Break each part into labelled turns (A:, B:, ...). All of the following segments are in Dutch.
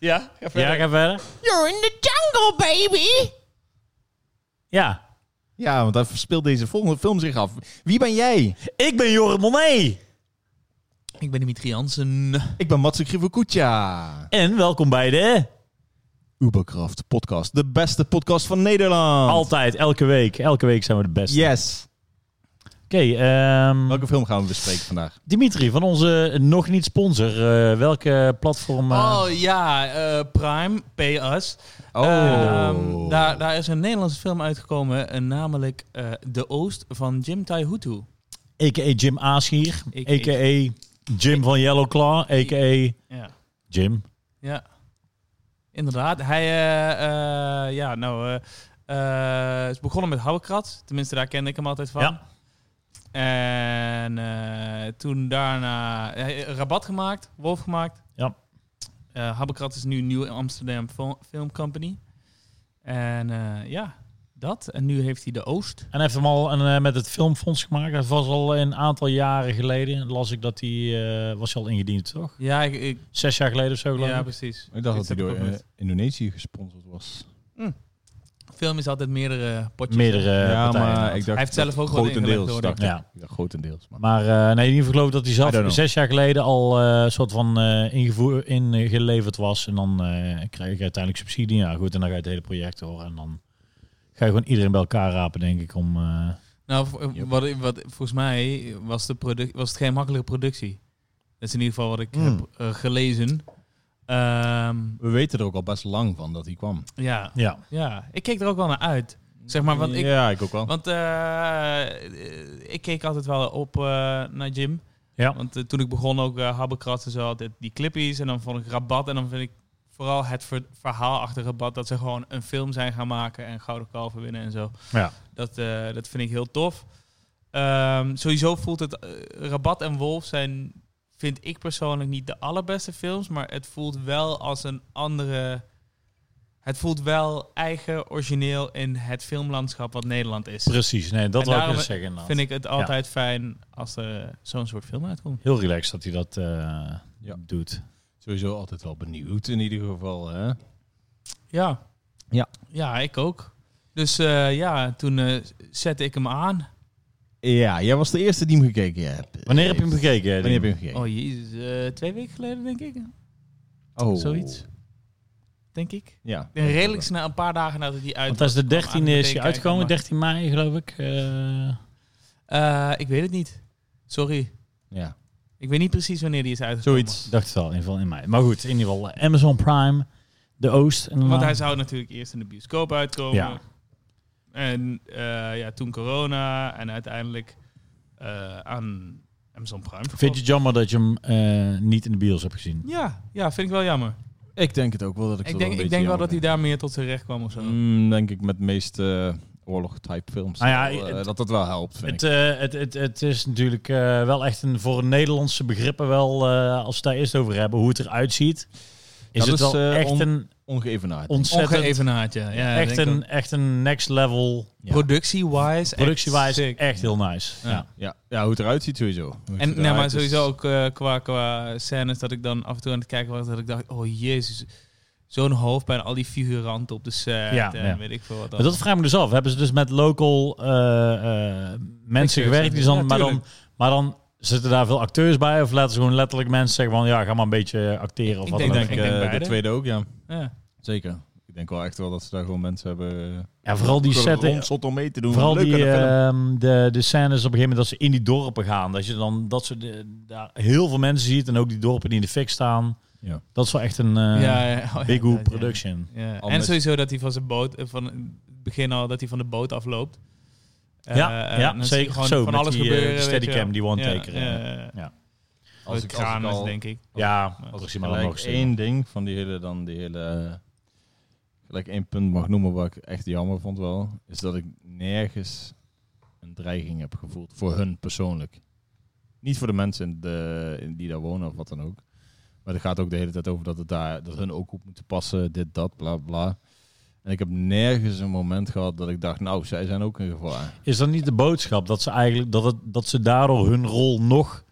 A: Ja, ga verder.
B: Ja, ga verder.
C: You're in the jungle, baby!
B: Ja.
D: Ja, want daar speelt deze volgende film zich af. Wie ben jij?
B: Ik ben Jorrit Monet.
A: Ik ben Dimitri Jansen.
D: Ik ben Matsuki Fukucha.
B: En welkom bij de...
D: Uberkraft podcast. De beste podcast van Nederland.
B: Altijd, elke week. Elke week zijn we de beste.
D: Yes.
B: Oké, ehm,
D: Welke film gaan we bespreken vandaag?
B: Dimitri, van onze nog niet sponsor. eh, welke platform... eh,
A: Oh ja, eh, Prime, pay us.
D: Oh. nou,
A: Ehm, daar, daar is een Nederlandse film uitgekomen, eh, namelijk eh, De Oost van Jim Tai Hutu.
B: A.k.a. Jim Aaschier.
A: A.k.a.
B: A.k.a. Jim van Yellow Claw. A.k.a.
A: Ja.
B: Jim.
A: ja. Inderdaad, hij eh, eh, ja, nou, eh, eh, is begonnen met Houwekrat. Tenminste, daar kende ik hem altijd van.
B: Ja.
A: En eh, toen daarna hij heeft Rabat gemaakt, Wolf gemaakt.
B: Ja.
A: Eh Habbekrat is nu Nieuw Amsterdam Fil- Film Company. En eh, ja, dat. En nu heeft hij de Oost.
B: En hij heeft hem al een, eh, met het Filmfonds gemaakt. Dat was al een aantal jaren geleden. Las ik dat hij... eh, was hij al ingediend, toch?
A: Ja, ik, ik-
B: Zes jaar geleden of zo, geloof
A: ja
B: ik.
A: precies.
D: Ik dacht dat
A: Iets
D: hij
A: heb
D: door
A: ook
D: eh,
A: met.
D: Indonesië gesponsord was.
A: Film is altijd meerdere potjes.
B: Meerdere eh, partijen.
D: ik dacht
A: Hij heeft zelf ook wel ingelegd,
D: grotendeels.
A: hoor,
D: Dacht ik.
B: Ja.
D: Ja, grotendeels. Maar.
B: Maar eh, nee, in ieder geval geloof ik dat hij
D: I don't
B: zelf
D: know.
B: zes jaar geleden al een soort van eh, ingevoer, ingeleverd was. En dan eh, krijg je uiteindelijk subsidie. Ja goed, en dan ga je het hele project door. En dan ga je gewoon iedereen bij elkaar rapen, denk ik. Om, eh,
A: Nou, v- wat, wat, volgens mij was, de produc- was het geen makkelijke productie. Dat is in ieder geval wat ik
D: Mm.
A: heb eh, gelezen. Ehm,
D: We weten er ook al best lang van dat hij kwam.
A: ja.
B: ja.
A: ja, ik keek er ook wel naar uit. Zeg maar, want ik,
D: ja, ik ook wel.
A: Want eh, ik keek altijd wel op eh, naar Jim.
B: Ja.
A: Want eh, toen ik begon ook eh Habbekrat en zo, altijd die clippies. En dan vond ik Rabat. En dan vind ik vooral het ver- verhaal achter Rabat... dat ze gewoon een film zijn gaan maken en Gouden Kalven winnen en zo.
B: Ja.
A: Dat, eh, dat vind ik heel tof. Ehm, sowieso voelt het... eh, Rabat en Wolf zijn, vind ik persoonlijk, niet de allerbeste films. Maar het voelt wel als een andere... Het voelt wel eigen, origineel in het filmlandschap wat Nederland is
B: Precies, nee, dat
A: En
B: wil ik
A: daarom
B: dus zeggen. inderdaad.
A: vind ik het altijd fijn als er zo'n soort film uitkomt.
B: Heel relaxed dat hij dat eh,
D: Ja.
B: doet.
D: Sowieso altijd wel benieuwd in ieder geval. Hè?
A: Ja.
D: Ja.
A: Ja, ik ook. Dus eh, ja, toen eh, zette ik hem aan.
D: Ja, jij was de eerste die hem gekeken hebt.
B: Wanneer heb je hem gekeken?
D: Wanneer heb je hem gekeken?
A: Oh jezus, eh, twee weken geleden denk ik.
D: Oh.
A: Zoiets. Denk ik.
D: Ja.
A: En redelijk snel, een paar dagen nadat hij uit
B: Want dat is de
A: kwam
B: 13e
A: aan,
B: is hij
A: meteen
B: uitgekomen,
A: kijken,
B: 13 mei geloof ik. Eh,
A: maar- Eh, ik weet het niet. Sorry.
D: Ja.
A: Ik weet niet precies wanneer die is uitgekomen.
D: Zoiets.
B: ik dacht het wel, in ieder geval in mei. Maar goed, in ieder geval eh, Amazon Prime, de Oost. En
A: Want hij zou natuurlijk eerst in de bioscoop uitkomen.
B: Ja.
A: En eh, ja, toen corona en uiteindelijk eh, aan Amazon Prime.
B: Vind je
A: verkocht.
B: het jammer dat je hem eh, niet in de bios hebt gezien?
A: Ja, ja, vind ik wel jammer.
D: Ik denk het ook wel dat ik
A: Ik denk, ik denk wel dat hij daar meer tot zijn recht kwam of zo.
D: Mm, denk ik met de meeste eh, oorlog-type films.
B: Nou ja,
D: Wel, eh,
B: het-
D: dat dat wel helpt, vind
B: Het,
D: ik.
B: eh, het, het, het is natuurlijk eh, wel echt een, voor Nederlandse begrippen wel, eh, als we het daar eerst over hebben, hoe het eruit ziet. Is
D: Dat
B: het
D: is,
B: wel
D: eh,
B: echt
D: on-
B: een
D: Ongeëvenaard.
B: ontzettend,
A: Ongeëvenaard, ja. ja
B: echt,
A: denk ik
B: een, echt een next level,
A: ook. Productie-wise. echt
B: productiewijze,
A: sick.
B: echt, heel nice.
A: Ja.
B: Ja.
D: ja. ja, hoe het eruit ziet sowieso. Hoe het
A: En
D: eruit
A: nou, maar
D: is.
A: sowieso ook eh, qua, qua scènes dat ik dan af en toe aan het kijken was, dat ik dacht, oh jezus, zo'n hoofdpijn, al die figuranten op de set
B: Ja,
A: en
B: ja.
A: weet ik veel wat
B: Maar dat vraag ik me dus af. Hebben ze dus met local eh, eh, mensen
A: Acteurs,
B: gewerkt? Die dan,
A: ja,
B: maar, dan,
A: tuurlijk.
B: maar dan zitten daar veel acteurs bij? Of laten ze gewoon letterlijk mensen zeggen van... Ja, ga maar een beetje acteren of
A: Ik
B: wat
D: Ik
B: dan
D: denk,
B: ook.
A: Ik denk
D: eh,
A: beide.
D: de tweede ook, ja.
A: Ja.
D: Zeker. Ik denk wel echt wel dat ze daar gewoon mensen hebben... eh,
B: Ja, vooral die setting,
D: geronseld om mee te doen.
B: Vooral
D: Leuk
B: die,
D: aan de film.
B: ehm, de, de scènes op een gegeven moment dat ze in die dorpen gaan. Dat je dan dat ze de- daar heel veel mensen ziet en ook die dorpen die in de fik staan.
D: Ja.
B: Dat is wel echt een eh,
A: ja, ja. Oh, ja,
B: big hoop
A: dat, ja.
B: production.
A: Ja.
D: Al
A: En
D: met-
A: sowieso dat hij van zijn boot, eh, van het begin al, dat hij van de boot afloopt. Eh,
B: Ja,
A: eh,
B: ja,
A: dan zie
B: zeker.
A: je Gewoon
B: Zo,
A: van
B: met
A: alles
B: die, eh,
A: gebeuren.
B: die
A: weet je
B: steadicam,
A: wel.
B: die one-taker,
A: Ja,
B: eh.
A: ja,
D: Als
A: ja.
D: ik- als ik
A: Kramers,
D: al-
A: denk ik.
B: Ja,
A: Als
B: als
D: Als
B: ik
D: je
B: zie
D: maar
B: maar nog
D: gelijk
B: één.
D: één ding van die hele, dan die hele, eh, gelijk één punt mag noemen wat ik echt jammer vond wel, is dat ik nergens een dreiging heb gevoeld voor hun persoonlijk. Niet voor de mensen in de, in die daar wonen of wat dan ook. Maar het gaat ook de hele tijd over dat het daar, dat hun ook op moeten passen, dit, dat, bla, bla. En ik heb nergens een moment gehad dat ik dacht, nou, zij zijn ook in gevaar.
B: Is dat niet de boodschap dat ze eigenlijk dat, het, dat ze daardoor hun rol nog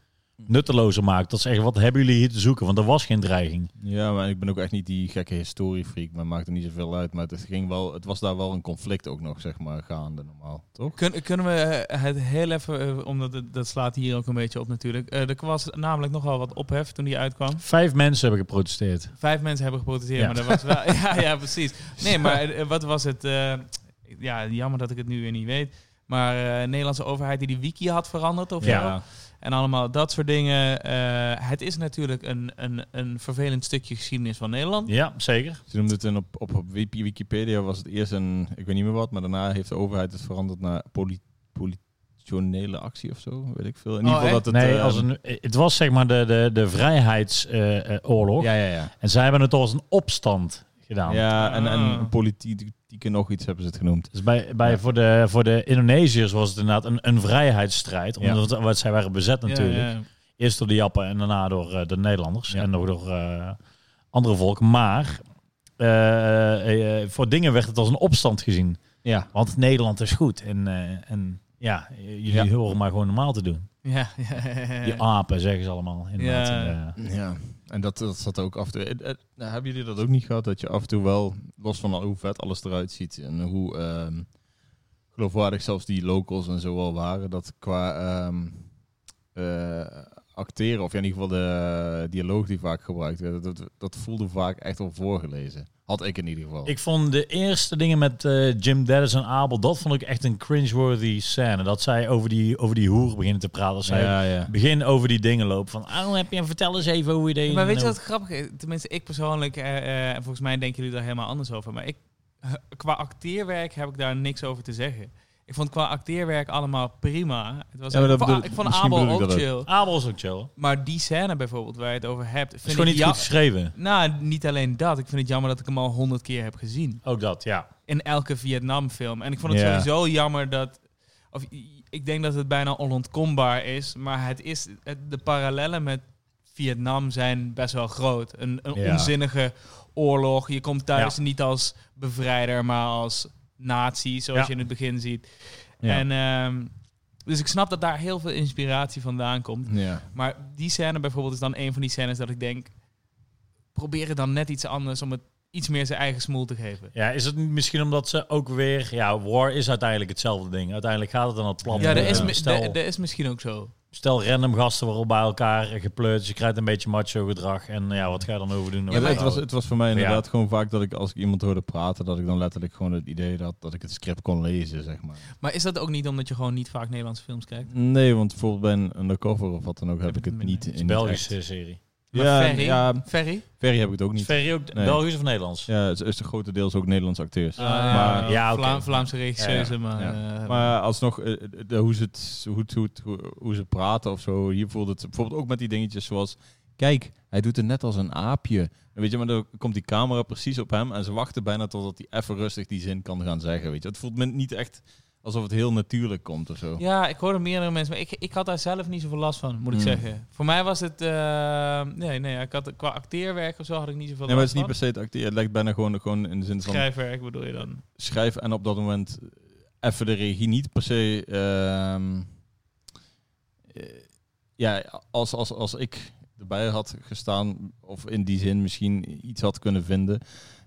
B: nuttelozer maakt. Dat ze echt, wat hebben jullie hier te zoeken? Want er was geen dreiging.
D: Ja, maar ik ben ook echt niet die gekke historiefreak. Maar maakt er niet zoveel uit. Maar het, ging wel, het was daar wel een conflict ook nog, zeg maar, gaande normaal. Toch?
A: Kun- kunnen we eh, het heel even, eh, omdat het- dat slaat hier ook een beetje op natuurlijk. Eh, er was namelijk nogal wat ophef toen die uitkwam.
B: Vijf mensen hebben geprotesteerd.
A: Vijf mensen hebben geprotesteerd,
B: Ja.
A: maar dat was wel... ja, ja, precies. Nee, maar eh, wat was het... eh, ja, jammer dat ik het nu weer niet weet. Maar eh, de Nederlandse overheid die die wiki had veranderd of zo. En allemaal dat soort dingen. Eh, het is natuurlijk een, een, een vervelend stukje geschiedenis van Nederland.
B: Ja, zeker.
D: Ze noemden het een op, op, op Wiki- Wikipedia was het eerst een, ik weet niet meer wat, maar daarna heeft de overheid het veranderd naar poli- politionele actie of zo, weet ik veel. In ieder
A: Oh,
D: geval
A: echt?
D: dat het...
B: nee,
D: eh,
B: als een, het was zeg maar de, de, de vrijheidsoorlog.
D: Ja, ja, ja.
B: En zij hebben het als een opstand gedaan.
D: Ja, en,
A: Ah.
D: en politieke nog iets hebben ze het genoemd.
B: Dus bij, bij,
D: Ja.
B: voor, de, voor de Indonesiërs was het inderdaad een, een vrijheidsstrijd.
D: Ja.
B: Omdat want zij waren bezet natuurlijk.
A: Ja, ja.
B: Eerst door de Jappen en daarna door eh, de Nederlanders.
D: Ja.
B: En nog door eh, andere volken. Maar eh, eh, voor dingen werd het als een opstand gezien.
D: Ja.
B: Want Nederland is goed. En, eh, en ja, j- jullie
D: Ja.
B: horen maar gewoon normaal te doen.
A: Ja, ja, ja,
B: Die
A: ja.
B: apen zeggen ze allemaal. Inderdaad.
A: Ja.
B: En, eh,
D: Ja, en dat, dat zat ook af en toe. eh, eh, nou, hebben jullie dat ook niet gehad? Dat je af en toe wel, los van al hoe vet alles eruit ziet en hoe ehm, geloofwaardig zelfs die locals en zo wel waren, dat qua ehm, eh, acteren, of ja, in ieder geval de dialoog die vaak gebruikt werd, dat, dat voelde vaak echt al voorgelezen. Had ik in ieder geval.
B: Ik vond de eerste dingen met eh, Jim Dennis en Abel, dat vond ik echt een cringeworthy scène. Dat zij over die, over die hoer beginnen te praten. Dat zij
D: ja, ja.
B: begin over die dingen lopen. Van, oh, heb je, vertel eens even hoe je deed.
A: Maar weet je wat grappig is? Tenminste, ik persoonlijk, eh, eh, en volgens mij denken jullie daar helemaal anders over. Maar ik, eh, qua acteerwerk heb ik daar niks over te zeggen. Ik vond qua acteerwerk allemaal prima. Het was
D: Ja, maar dat
A: ik, vond-
D: bedoel-
A: ik vond
D: misschien
A: Abel
D: bedoel ik
A: ook
D: dat ook.
A: chill.
B: Abel is ook chill. Het
A: Maar die scène bijvoorbeeld waar je het over hebt,
B: is
A: vind
B: gewoon
A: ik
B: niet
A: ja-
B: goed geschreven.
A: Nou, niet alleen dat. Ik vind het jammer dat ik hem al honderd keer heb gezien.
B: Ook dat, ja.
A: In elke Vietnamfilm. En ik vond het
D: Ja.
A: sowieso jammer dat... Of, i- ik denk dat het bijna onontkombaar is. Maar het is, het- de parallellen met Vietnam zijn best wel groot. Een, een
D: Ja.
A: onzinnige oorlog. Je komt thuis niet als bevrijder, maar als nazi. Zoals
B: Ja.
A: je in het begin ziet.
D: Ja.
A: En, ehm, dus ik snap dat daar heel veel inspiratie vandaan komt.
D: Ja.
A: Maar die scène bijvoorbeeld is dan een van die scènes dat ik denk... probeer het dan net iets anders om het iets meer zijn eigen smoel te geven.
B: Ja, is het niet misschien omdat ze ook weer... Ja, war is uiteindelijk hetzelfde ding. Uiteindelijk gaat het dan het plan.
A: Ja,
B: om,
A: dat is,
B: eh,
A: mi-
B: stel,
A: dat- dat is misschien ook zo.
B: stel random gasten waarop bij elkaar eh, gepleurd. Je krijgt een beetje macho gedrag. En ja, wat ga je dan over doen?
A: Ja, maar
D: het, was, het was voor mij
B: Ja.
D: inderdaad gewoon vaak dat ik als ik iemand hoorde praten, dat ik dan letterlijk gewoon het idee had dat ik het script kon lezen, zeg maar.
A: Maar is dat ook niet omdat je gewoon niet vaak Nederlandse films kijkt?
D: Nee, want bijvoorbeeld bij een undercover of wat dan ook heb ik het niet in
B: een
D: het
B: Belgische
D: echt.
B: serie.
A: eh, Maar
D: Ja,
A: Ferry,
D: ja,
A: Ferry?
D: Ferry heb ik het ook niet.
B: Is Ferry ook
D: Nee.
B: Belgisch of Nederlands?
D: Ja, het is grotendeels ook Nederlandse acteurs.
A: Ah,
D: maar-
B: Ja,
A: Vla-
B: oké.
A: Vlaamse regisseuse, maar... eh,
D: Maar alsnog, eh, eh, de- hoe, ze het, hoe, het- hoe, het- hoe, hoe ze praten of zo. Hier voelde het bijvoorbeeld ook met die dingetjes zoals... Kijk, hij doet het net als een aapje. En weet je, maar dan komt die camera precies op hem... en ze wachten bijna totdat hij even rustig die zin kan gaan zeggen. Weet je. Het voelt me niet echt alsof het heel natuurlijk komt of zo.
A: Ja, ik hoorde meerdere mensen, maar ik, ik had daar zelf niet zoveel last van, moet ik
D: Hmm.
A: zeggen. Voor mij was het... eh, nee, nee, ik had, qua acteerwerk of zo had ik niet zoveel
D: Nee, maar het is
A: last
D: niet per
A: van.
D: se het acteren. Het lijkt bijna gewoon, gewoon in de zin van...
A: Schrijfwerk bedoel je dan?
D: schrijf en op dat moment even de regie niet per se. ehm, eh, ja, als, als, als ik erbij had gestaan, of in die zin misschien iets had kunnen vinden,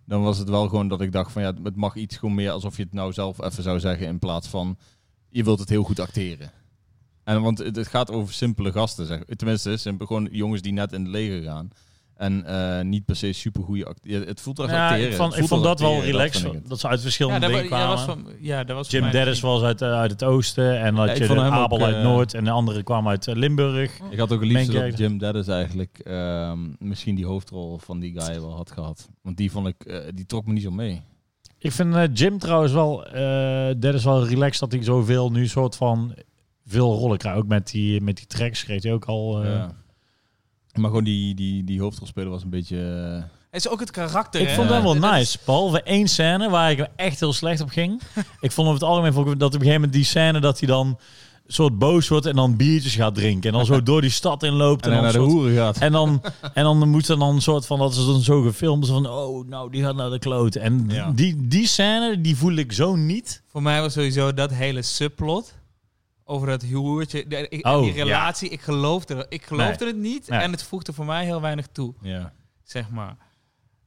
D: dan was het wel gewoon dat ik dacht van ja, het mag iets gewoon meer alsof je het nou zelf even zou zeggen in plaats van je wilt het heel goed acteren. En want het, het gaat over simpele gasten, zeg. tenminste, simpel, gewoon jongens die net in het leger gaan. En eh, niet per se super goede acteren. Het voelt als
B: Ja,
D: acteren.
B: ik
D: Het
B: vond, ik
D: voelt
B: vond
D: als
B: dat wel
D: acteren,
B: relaxed.
D: vind ik
B: Dat,
D: het.
B: ze uit
A: Ja,
B: verschillende
A: daar wa-
B: dingen
A: ja,
B: kwamen.
A: was van, ja, dat was voor
B: Jim
A: mij
B: Dennis
A: misschien-
B: was uit, eh, uit het oosten. En dan
D: Ja,
B: had
D: ik
B: je
D: vond
B: de
D: hem ook,
B: Abel uit
D: eh,
B: Noord. En de andere kwam uit eh, Limburg.
D: Ik had ook het liefst
B: Menk
D: dat
B: Jagger.
D: Jim Dennis eigenlijk ehm, misschien die hoofdrol van die guy wel had gehad. Want die vond ik, eh, die trok me niet zo mee.
B: Ik vind eh, Jim trouwens wel, eh Dennis wel relaxed dat hij zoveel nu soort van veel rollen krijgt. Ook met die, met die tracks kreeg hij ook al. eh,
D: Ja. Maar gewoon die, die, die hoofdrolspeler was een beetje... eh,
A: Het is ook het karakter.
B: Ik
A: hè?
B: vond dat wel
A: is-
B: nice. Behalve één scène waar ik echt heel slecht op ging. ik vond over het algemeen vond ik dat op een gegeven moment die scène dat hij dan soort boos wordt en dan biertjes gaat drinken. En dan zo door die stad in loopt.
D: en hij
B: dan
D: naar de
B: soort-
D: hoeren gaat.
B: En dan, en dan moet er dan een soort van, dat is dan zo gefilmd, zo van, oh, nou, die gaat naar de kloten. En
D: Ja.
B: die, die scène, die voel ik zo niet.
A: Voor mij was sowieso dat hele subplot. over dat huwelijkje, de- ik- en
B: Oh,
A: die
B: ja.
A: relatie. Ik geloofde, ik geloofde het niet
B: Nee.
A: en het voegde voor mij heel weinig toe,
D: Ja.
A: zeg maar.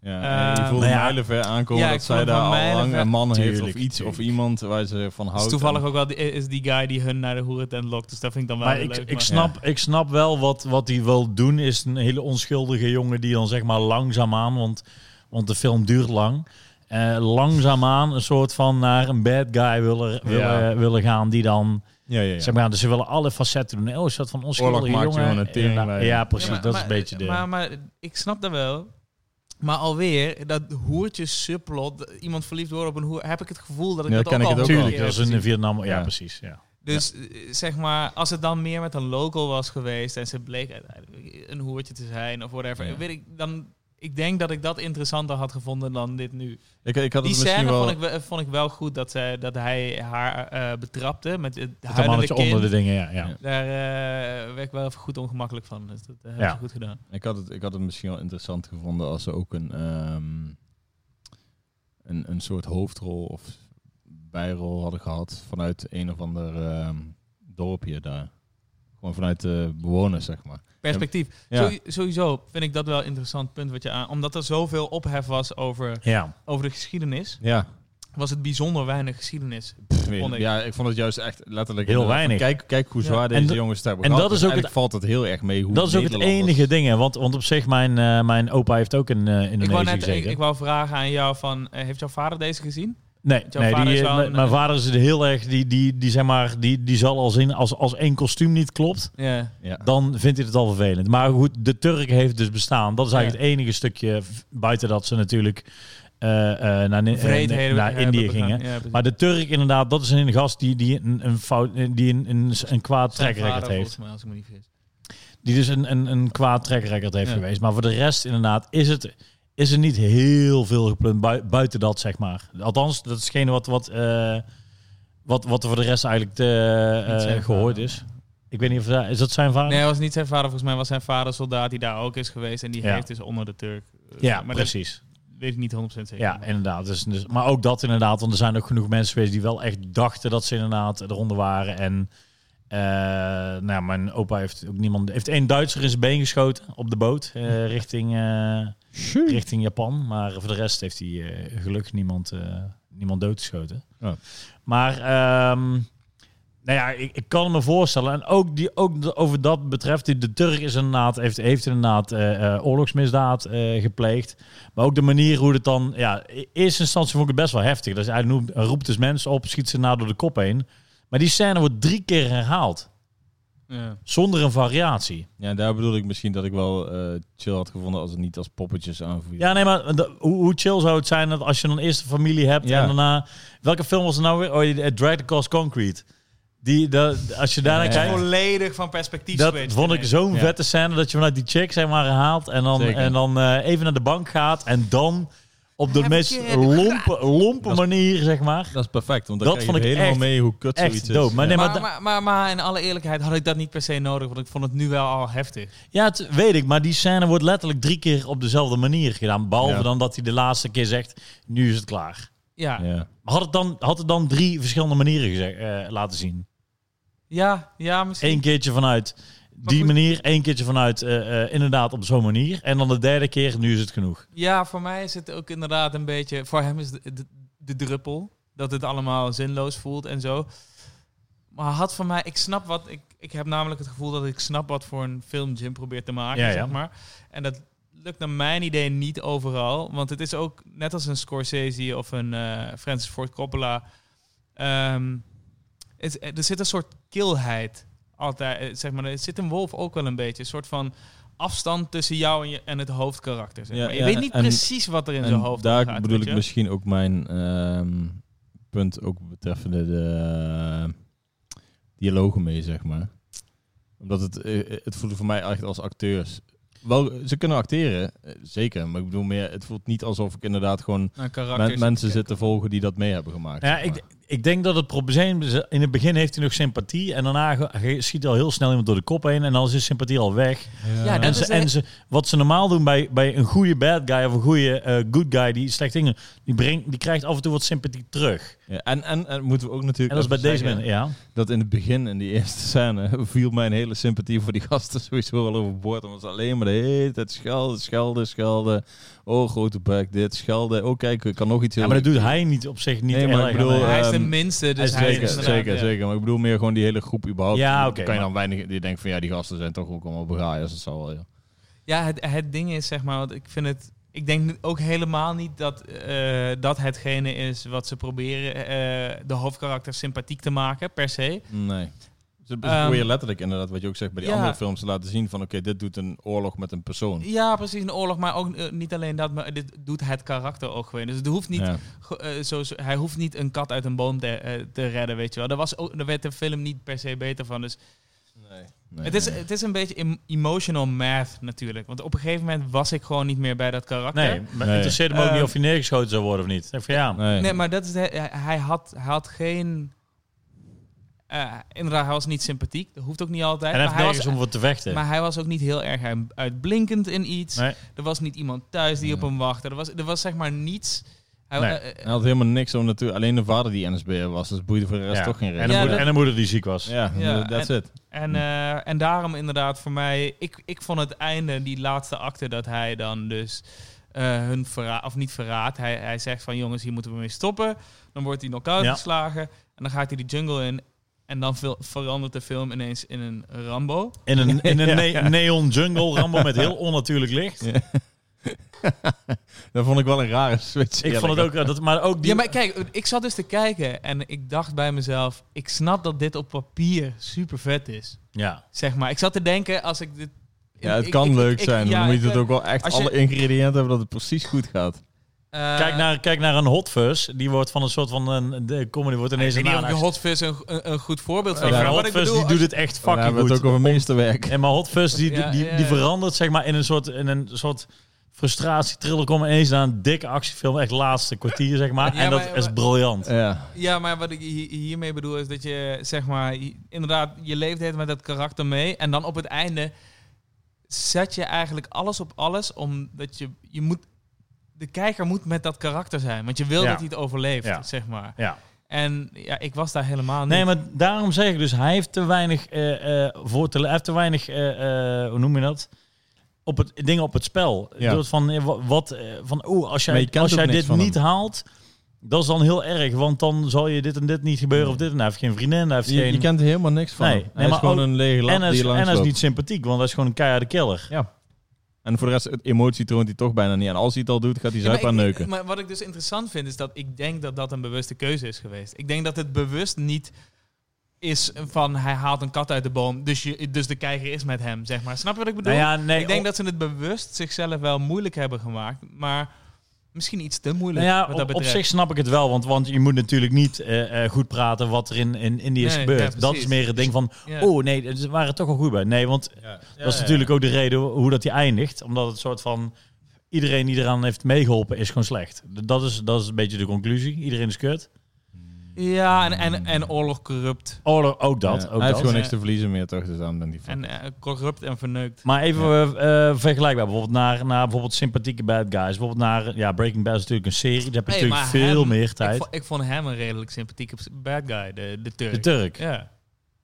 D: ja.
A: Eh,
D: je voelt
B: nou ja.
D: mijlenver aankomen
A: Ja, ik
D: dat zij
A: voel van
D: daar al
A: mijlenver-
D: lang een man heeft of
B: Tuurlijk,
D: iets of
B: tuurlijk.
D: iemand waar ze van
A: Dus
D: houdt.
A: toevallig
D: En-
A: ook wel die, is die guy die hun naar de hoerentent lokt. Dus dat vind ik dan wel
B: Maar
A: weer
B: ik,
A: leuk.
B: ik,
A: maar-
B: snap, ik snap wel wat, wat hij wil doen. Is een hele onschuldige jongen die dan zeg maar langzaamaan, want, want de film duurt lang. eh langzaamaan een soort van naar een bad guy willen, willen, willen gaan. Die dan,
D: ja, ja, ja.
B: zeg maar, dus ze willen alle facetten doen. Oh, een soort van onschuldige
D: Oorlog maakt
B: jongen.
D: gewoon een tering
B: Ja,
D: bij.
B: ja, precies.
A: Ja, maar-
B: dat
A: maar-
B: is
A: eh,
B: een beetje de...
A: Maar, maar ik snap dat wel. Maar alweer, dat hoertje subplot, dat iemand verliefd worden op een hoer, heb ik het gevoel dat ik
D: Ja,
A: dat,
D: ken
A: ook
D: ik
A: al
D: het ook
A: een
D: wel.
B: Tuurlijk, dat
A: keer
B: is
A: heb
B: in
A: gezien.
B: Vietnam. Ja,
D: Ja.
B: precies. Ja.
A: Dus eh, zeg maar, als het dan meer met een local was geweest en ze bleek uiteindelijk een hoertje te zijn of whatever,
D: Ja.
A: weet ik dan. Ik denk dat ik dat interessanter had gevonden dan dit nu.
D: ik, ik had
A: Die
D: het misschien
A: scène
D: wel...
A: vond, ik, we- vond ik wel goed dat, zij, dat hij haar eh, betrapte met het
B: Het
A: huilende
B: mannetje
A: kind.
B: onder de dingen, ja. ja.
D: Ja.
A: Daar eh, werd ik wel even goed ongemakkelijk van. Dus dat hebben
B: Ja.
A: ze goed gedaan.
D: Ik had, het, ik had het misschien wel interessant gevonden als ze ook een, ehm, een, een soort hoofdrol of bijrol hadden gehad vanuit een of ander ehm, dorpje daar. Gewoon vanuit de bewoners, zeg maar.
A: Perspectief.
D: Ja.
A: Sowie- Sowieso vind ik dat wel een interessant punt wat je aan. Omdat er zoveel ophef was over,
B: Ja,
A: over de geschiedenis,
D: Ja,
A: was het bijzonder weinig geschiedenis. vond ik.
D: ja ik vond het juist echt letterlijk...
B: heel
D: inderdaad van,
B: weinig.
D: Kijk, kijk hoe
A: Ja.
D: zwaar
B: En
D: deze
B: dat-
D: jongens het hebben
B: en
D: gehad.
B: dat is
D: Dus
B: ook het-
D: eigenlijk valt het heel erg mee hoe
B: dat is ook het
D: Nederlanders-
B: enige ding. hè, Want, want op zich, mijn, eh, mijn opa heeft ook in eh
A: Ik wou,
B: Indonesië
A: net, ik,
B: gezeten.
A: ik wou vragen aan jou van, eh, heeft jouw vader deze gezien?
B: Nee,
A: Jouw
B: nee
A: vader
B: die,
A: is
B: eh,
A: wel
B: mijn-
A: een-
B: mijn vader is er heel erg, die, die, die, zeg maar, die, die zal al zien, als, als één kostuum niet klopt,
A: Ja.
D: Ja.
B: dan vindt hij het al vervelend. Maar goed, de Turk heeft dus bestaan. Dat is eigenlijk het enige stukje, v- buiten dat ze natuurlijk eh, eh, naar, Ni- eh,
A: Vreedheden
B: naar
A: hebben
B: Indië
A: begaan.
B: gingen.
A: Ja, precies.
B: Maar de Turk inderdaad, dat is een gast die, die een, een, fout, die een, een, een kwaad
A: Zijn
B: track record
A: vader,
B: heeft.
A: volgens mij, als ik me niet vergis.
B: Die dus een, een, een kwaad track record heeft
A: Ja.
B: geweest. Maar voor de rest inderdaad is, het, is er niet heel veel gepland bui- buiten dat, zeg maar. Althans, dat is hetgene wat, wat, eh, wat, wat er voor de rest eigenlijk te, eh,
A: Niet zijn
B: gehoord
A: vader.
B: is. Ik weet niet of dat... Is dat zijn vader?
A: Nee, hij was niet zijn vader. Volgens mij was zijn vader soldaat die daar ook is geweest. En die
B: Ja.
A: heeft dus onder de Turk. eh,
B: ja,
A: maar
B: precies.
A: dat weet ik niet 100% zeker.
B: Ja, inderdaad. Dus, dus, maar ook dat inderdaad, want er zijn ook genoeg mensen geweest die wel echt dachten dat ze inderdaad eronder waren. En eh, nou, ja, mijn opa heeft ook niemand... Heeft één Duitser in zijn been geschoten op de boot eh, richting... eh, richting Japan. Maar voor de rest heeft hij eh, gelukkig niemand, eh, niemand doodgeschoten.
D: Ja.
B: Maar ehm, nou ja, ik, ik kan me voorstellen. En ook, die, ook de- over dat betreft, die, de Turk is inderdaad, heeft, heeft inderdaad eh, eh, oorlogsmisdaad eh, gepleegd. Maar ook de manier hoe het dan... Ja, in eerste instantie vond ik het best wel heftig. Dus hij noemt, hij roept dus mensen op, schiet ze na door de kop heen. Maar die scène wordt drie keer herhaald.
A: Ja.
B: Zonder een variatie.
D: ja, daar bedoel ik misschien dat ik wel eh, chill had gevonden als het niet als poppetjes aanvoelde.
B: Ja, nee, maar de- hoe, hoe chill zou het zijn dat als je dan eerst een familie hebt
D: Ja.
B: en daarna... Welke film was er nou weer? Oh, die- eh, Drag the Cost Concrete. Die, dat als je daarna
D: Ja.
B: kijkt,
A: Volledig van perspectief
B: dat
A: switch.
B: vond ik
A: Nee.
B: zo'n
D: Ja.
B: vette scène dat je vanuit die chick zeg maar haalt en dan,
D: Zeker.
B: en dan eh, even naar de bank gaat en dan op de
A: Heb
B: meest
A: ik je-
B: lompe, lompe
D: Dat is-
B: manier, zeg maar.
D: Dat is perfect, want
B: Dat
D: dan krijg
B: vond
D: je
B: ik
D: helemaal
B: echt-
D: mee hoe kut
B: echt
D: zoiets is.
B: dood. Maar
D: Ja.
B: nee,
A: Maar,
B: da-
A: maar, maar, maar in alle eerlijkheid had ik dat niet per se nodig, want ik vond het nu wel al heftig.
B: Ja, het weet ik, maar die scène wordt letterlijk drie keer op dezelfde manier gedaan. Behalve
D: Ja.
B: dan dat hij de laatste keer zegt, nu is het klaar.
A: Ja, ja,
D: Ja.
B: Maar Had het dan, had het dan drie verschillende manieren gezegd, eh, laten zien?
A: ja, misschien.
B: Eén keertje vanuit die
A: goed.
B: manier, één keertje vanuit eh, eh, inderdaad op zo'n manier. En dan de derde keer, nu is het genoeg.
A: Ja, voor mij is het ook inderdaad een beetje... Voor hem is de, de, de druppel. Dat het allemaal zinloos voelt en zo. Maar had voor mij... Ik snap wat... Ik, ik heb namelijk het gevoel dat ik snap wat voor een film Jim probeert te maken,
B: Ja, ja.
A: zeg maar. En dat lukt naar mijn idee niet overal. Want het is ook net als een Scorsese of een eh, Francis Ford Coppola... ehm, het, eh, er zit een soort kilheid altijd, eh, zeg maar. Er zit een wolf ook wel een beetje. Een soort van afstand tussen jou en, je, en het hoofdkarakter. Zeg
D: Ja,
A: maar. Je
D: ja,
A: weet niet
D: en-
A: precies wat er in
D: En
A: zijn hoofd
D: daar
A: gaat,
D: bedoel
A: weet
D: ik
A: je?
D: misschien ook mijn ehm, punt ook betreffende de eh, dialogen mee, zeg maar. Omdat het, eh, het voelde voor mij echt als acteurs. Wel, ze kunnen acteren, eh, zeker. Maar ik bedoel meer, het voelt niet alsof ik inderdaad gewoon
A: Een
D: men-
A: karakter.
D: mensen zit te volgen die dat mee hebben gemaakt.
B: Ja,
D: zeg maar.
B: ik, ik denk dat het probleem is, in het begin heeft hij nog sympathie en daarna ge- ge- schiet al heel snel iemand door de kop heen en dan is de sympathie al weg.
A: Ja,
B: En,
A: dat
B: ze,
A: is echt-
B: en ze, wat ze normaal doen bij, bij een goede bad guy of een goede eh, good guy die slecht dingen, die, brengt, die krijgt af en toe wat sympathie terug.
D: Ja, en, en, en moeten we ook natuurlijk
B: En dat is bij
D: even
B: deze
D: zeggen
B: mensen, ja.
D: dat in het begin, in die eerste scène, viel mijn hele sympathie voor die gasten sowieso al overboord. Omdat ze alleen maar de hele tijd schelden, schelden, schelden. Oh, grote bek, dit, schelden. Oh, kijk, ik kan nog iets
B: ja. Maar dat doet hij niet op zich niet
D: Nee, maar
B: erg
D: ik
B: aan.
D: bedoel,
A: hij is de
D: ehm,
A: minste, dus
B: hij
A: hij
B: is
A: is
D: Zeker,
A: inderdaad,
D: zeker,
A: ja.
D: zeker. Maar ik bedoel meer gewoon die hele groep überhaupt.
B: Ja,
D: Dan
B: oké,
D: kan je dan weinig... Die denkt van, ja, die gasten zijn toch ook allemaal begaaiers. Dat zal wel, ja.
A: Ja, het, het ding is, zeg maar, want ik vind het. Ik denk nu ook helemaal niet dat eh, dat hetgene is wat ze proberen eh, de hoofdkarakter sympathiek te maken, per se.
D: Nee. Ze ze
A: Ehm,
D: proberen letterlijk inderdaad, wat je ook zegt bij die
A: ja.
D: andere films, te laten zien van, oké, dit doet een oorlog met een persoon.
A: Ja, precies, een oorlog, maar ook eh, niet alleen dat, maar dit doet het karakter ook gewoon. Dus het hoeft niet,
D: Ja.
A: ge- eh, zo, zo- hij hoeft niet een kat uit een boom te, eh, te redden, weet je wel. Daar, was ook, daar werd de film niet per se beter van. Dus
D: Nee. Nee,
A: het, is,
D: nee.
A: het is een beetje em- emotional math natuurlijk. Want op een gegeven moment was ik gewoon niet meer bij dat karakter.
B: Nee, maar
D: Nee. Eh,
B: interesseert hem ook niet
A: Ehm,
B: of hij neergeschoten zou worden of niet. Ik denk van, ja,
D: Nee.
A: Nee, maar dat is de- hij- hij, had, hij had geen. eh, inderdaad, hij was niet sympathiek. Dat hoeft ook niet altijd.
B: en hij heeft
A: maar, hij
B: nergens
A: was,
B: om voor te vechten.
A: maar hij was ook niet heel erg uit- uitblinkend in iets.
B: Nee.
A: Er was niet iemand thuis die op hem wachtte. Er was, er was zeg maar niets. Hij,
B: Nee.
A: eh, eh,
D: Hij had helemaal niks om natuurlijk... Alleen de vader die NSB was, dus boeide voor de rest
B: Ja.
D: toch geen
B: en,
D: reden.
B: de
A: Ja,
B: moeder,
A: dat-
B: en de moeder die ziek was.
D: Ja,
A: Ja,
D: that's it.
A: en, eh, en daarom inderdaad voor mij... Ik, ik vond het einde, die laatste acte, dat hij dan dus... eh, hun verraadt, of niet verraadt. Hij, hij zegt van jongens, hier moeten we mee stoppen. Dan wordt hij knock-out
B: Ja.
A: geslagen. En dan gaat hij de jungle in. En dan ver- verandert de film ineens in een Rambo.
B: In een, in een ne- neon jungle rambo met heel onnatuurlijk licht.
D: Dat vond ik wel een rare switch.
B: Ik vond het ook, eh, dat, maar ook die...
A: Ja, maar kijk, ik zat dus te kijken en ik dacht bij mezelf... ik snap dat dit op papier super vet is,
B: ja.
A: zeg maar. Ik zat te denken, als ik dit...
D: Ja, het
A: ik-
D: kan
A: ik-
D: leuk
A: ik- ik-
D: zijn. maar
A: ja,
D: dan moet
A: ik-
D: je het ook wel echt
A: als je-
D: alle ingrediënten hebben dat het precies goed gaat.
A: eh,
B: Kijk naar, kijk naar een hot fuzz. Die wordt van een soort van... Een, de comedy wordt
A: Ik
B: ineens
A: weet
B: een
A: niet of ik
B: aanhangsel.
A: Hot Fuzz een, een, een goed voorbeeld van
B: Ik
A: vind,
B: vind
A: maar
B: Hot
A: wat ik
B: Fuzz,
A: bedoel,
B: die
A: als-
B: doet het echt
D: Dan
B: fucking
D: hebben we
B: goed.
D: het ook over meesterwerk.
B: En maar Hot Fuzz, die,
A: Ja,
B: die,
A: ja,
B: die
A: ja.
B: verandert zeg maar in een soort in een soort frustratie thriller komt ineens naar een dikke actiefilm echt laatste kwartier zeg maar
A: Ja,
B: en dat
A: maar-
B: is
A: maar-
B: briljant
D: Ja.
A: Ja, maar wat ik hi- hiermee bedoel is dat je, zeg maar... i- inderdaad, je leeft het met dat karakter mee... en dan op het einde zet je eigenlijk alles op alles... omdat je, je moet... de kijker moet met dat karakter zijn... want je wil
B: Ja.
A: dat hij het overleeft,
B: Ja.
A: zeg maar.
B: ja
A: En ja, ik was daar helemaal niet.
B: nee maar daarom zeg ik dus hij heeft te weinig eh, eh, voor te hij heeft te weinig eh, eh, hoe noem je dat op het dingen op het spel
D: Ja.
B: Door van eh, wa- wat eh, van oh als
D: Maar
B: jij
D: je kent
B: als
D: ook
B: jij
D: niks
B: dit
D: van
B: niet haalt dat is dan heel erg want dan zal je dit en dit niet gebeuren of dit en hij heeft geen vriendin hij heeft
D: Je,
B: geen
D: je kent er helemaal niks van.
B: Nee,
D: Nee,
B: nee,
D: hij is
B: maar
D: gewoon
B: ook-
D: een lege
B: en
D: lat
B: hij
D: die
B: is, en hij
D: langs
B: is
D: loopt.
B: niet sympathiek want hij is gewoon een keiharde killer
D: En voor de rest, het emotie troont hij toch bijna niet aan. Als hij het al doet, gaat hij
A: Ja, maar
D: zuip aan
A: ik-
D: neuken.
A: Maar wat ik dus interessant vind, is dat ik denk dat dat een bewuste keuze is geweest. Ik denk dat het bewust niet is van hij haalt een kat uit de boom, dus, je, dus de kijker is met hem, zeg maar. Snap je wat ik bedoel?
B: Nou ja, nee,
A: ik denk
B: op-
A: dat ze het bewust zichzelf wel moeilijk hebben gemaakt, maar misschien iets te moeilijk
B: Nou ja,
A: wat dat
B: op, op
A: betreft.
B: zich snap ik het wel, want, want je moet natuurlijk niet eh, eh, goed praten wat er in, in Indië is
A: Nee, ja,
B: gebeurd.
A: precies.
B: dat is meer het ding van,
A: Ja.
B: oh nee, ze waren er toch wel goed bij. Nee, want dat is natuurlijk ook de reden hoe dat die eindigt. Omdat het soort van, iedereen die eraan heeft meegeholpen is gewoon slecht. D- Dat is, dat is een beetje de conclusie. Iedereen is kut.
A: Ja, en, en, en oorlog corrupt.
B: Oorlog, Oh, ook dat.
D: Ja,
B: ook
D: hij heeft
B: dat.
D: gewoon niks te verliezen meer, toch? Dus dan ben die
A: En eh, corrupt en verneukt.
B: Maar even eh, eh, vergelijkbaar, bijvoorbeeld naar, naar bijvoorbeeld sympathieke bad guys. Bijvoorbeeld naar, ja, Breaking Bad is natuurlijk een serie. Daar heb je
A: Hey,
B: natuurlijk
A: maar
B: veel
A: hem-
B: meer
A: Ik,
B: tijd.
A: vo- ik vond hem een redelijk sympathieke bad guy, de, de Turk.
B: De Turk.
A: Ja.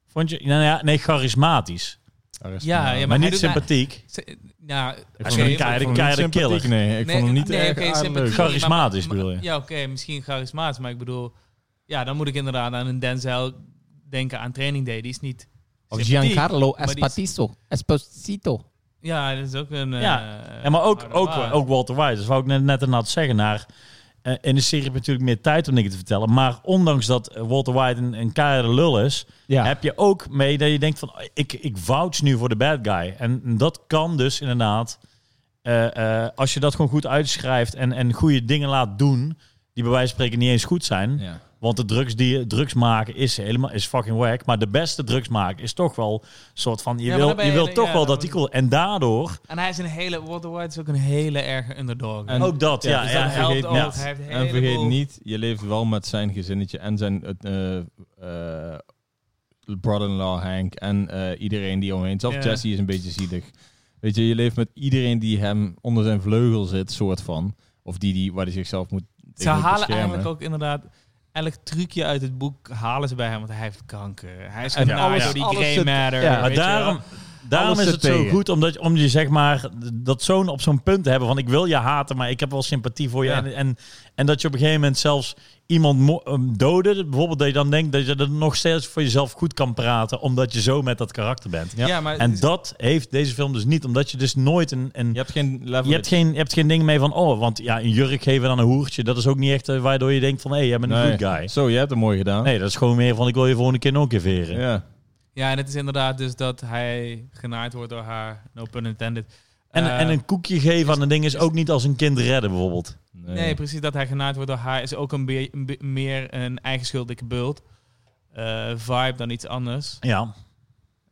B: Vond je, nou ja, nee, charismatisch.
A: Ja, ja,
B: Maar,
A: maar hij
B: niet
A: doet mij-
B: sympathiek.
A: Ze- Nou,
D: Ik
A: oké,
D: vond hem
B: een keiharde
A: ik vond-
B: kei- keiharde killer.
D: Nee, ik vond hem niet erg
A: oké,
D: aardig
A: sympathie,
D: leuk.
A: maar-
B: Charismatisch
A: maar-
B: bedoel je?
A: Ja, oké, misschien charismatisch, maar ik bedoel... Ja, dan moet ik inderdaad aan een Denzel denken aan Training Day. Die is niet...
E: Of
A: sympathiek,
E: Giancarlo
A: maar die is-
E: Esposito. Esposito.
A: Ja, dat is ook een...
B: Ja,
A: eh,
B: Ja, maar ook,
A: harde
B: ook,
A: baan.
B: ook Walter White. Dat wou ik net, net inderdaad zeggen. Naar, eh, in de serie heb je natuurlijk meer tijd om dingen te vertellen. Maar ondanks dat eh, Walter White een, een keiharde lul is...
E: Ja.
B: heb je ook mee dat je denkt van... oh, ik, ik vouch nu voor de bad guy. En dat kan dus inderdaad... eh, eh, als je dat gewoon goed uitschrijft en, en goede dingen laat doen... die bij wijze van spreken niet eens goed zijn.
D: Ja.
B: Want de drugs die drugs maken is helemaal is fucking whack. Maar de beste drugs maken is toch wel een soort van je
A: Ja, maar
B: wil
A: dan ben
B: je
A: je
B: wil
A: de-
B: toch
A: ja,
B: wel
A: dan
B: dat die cool. En daardoor
A: En hij is een hele... Walter White is ook een hele erge underdog.
D: En-
B: ook dat.
D: ja,
B: Ja,
D: dus
B: ja,
D: dat
B: ja.
D: helpt vergeet niet-
A: Hij heeft een
D: En vergeet
A: heleboel-
D: niet, je leeft wel met zijn gezinnetje en zijn eh, eh, eh, brother-in-law Hank en eh, iedereen die omheen. Zelfs
A: Ja.
D: Jesse is een beetje zielig. Weet je, je leeft met iedereen die hem onder zijn vleugel zit, soort van. Of die, die waar hij zichzelf moet
A: Ze
D: tegen moet
A: halen
D: beschermen.
A: eigenlijk ook inderdaad... Elk trucje uit het boek halen ze bij hem, want hij heeft kanker. Hij is
D: En
A: genaaid
B: alles-
A: door die
D: alles
A: grey
D: zit-
A: matter.
D: ja,
B: Maar
A: weet je wel.
B: daarom, daarom
D: Alles
B: is
D: zit
B: het zo
D: tegen.
B: goed omdat om je zeg maar dat zo'n op zo'n punt te hebben van ik wil je haten, maar ik heb wel sympathie voor je
D: Ja.
B: en, en en dat je op een gegeven moment zelfs iemand mo- ehm, doodde, bijvoorbeeld dat je dan denkt dat je er nog steeds voor jezelf goed kan praten omdat je zo met dat karakter bent.
A: Ja, maar
B: En dat heeft deze film dus niet, omdat je dus nooit een, een
D: Je hebt geen level.
B: Je hebt, geen, je hebt geen ding mee van, oh, want ja, een jurk geven aan een hoertje, dat is ook niet echt eh, waardoor je denkt van, hé, hey, jij bent een
D: Nee.
B: good guy.
D: Zo, je hebt het mooi gedaan.
B: Nee, dat is gewoon meer van, ik wil je volgende keer nog een keer veren.
D: Ja.
A: Ja, en het is inderdaad dus dat hij genaaid wordt door haar. No pun intended.
B: En,
A: Eh,
B: en een koekje geven aan een ding is ook niet als een kind redden, bijvoorbeeld.
D: Nee.
A: Nee, precies. Dat hij genaaid wordt door haar is ook een be- een be- meer een eigen schuld dikke bult. eh, vibe dan iets anders.
B: Ja.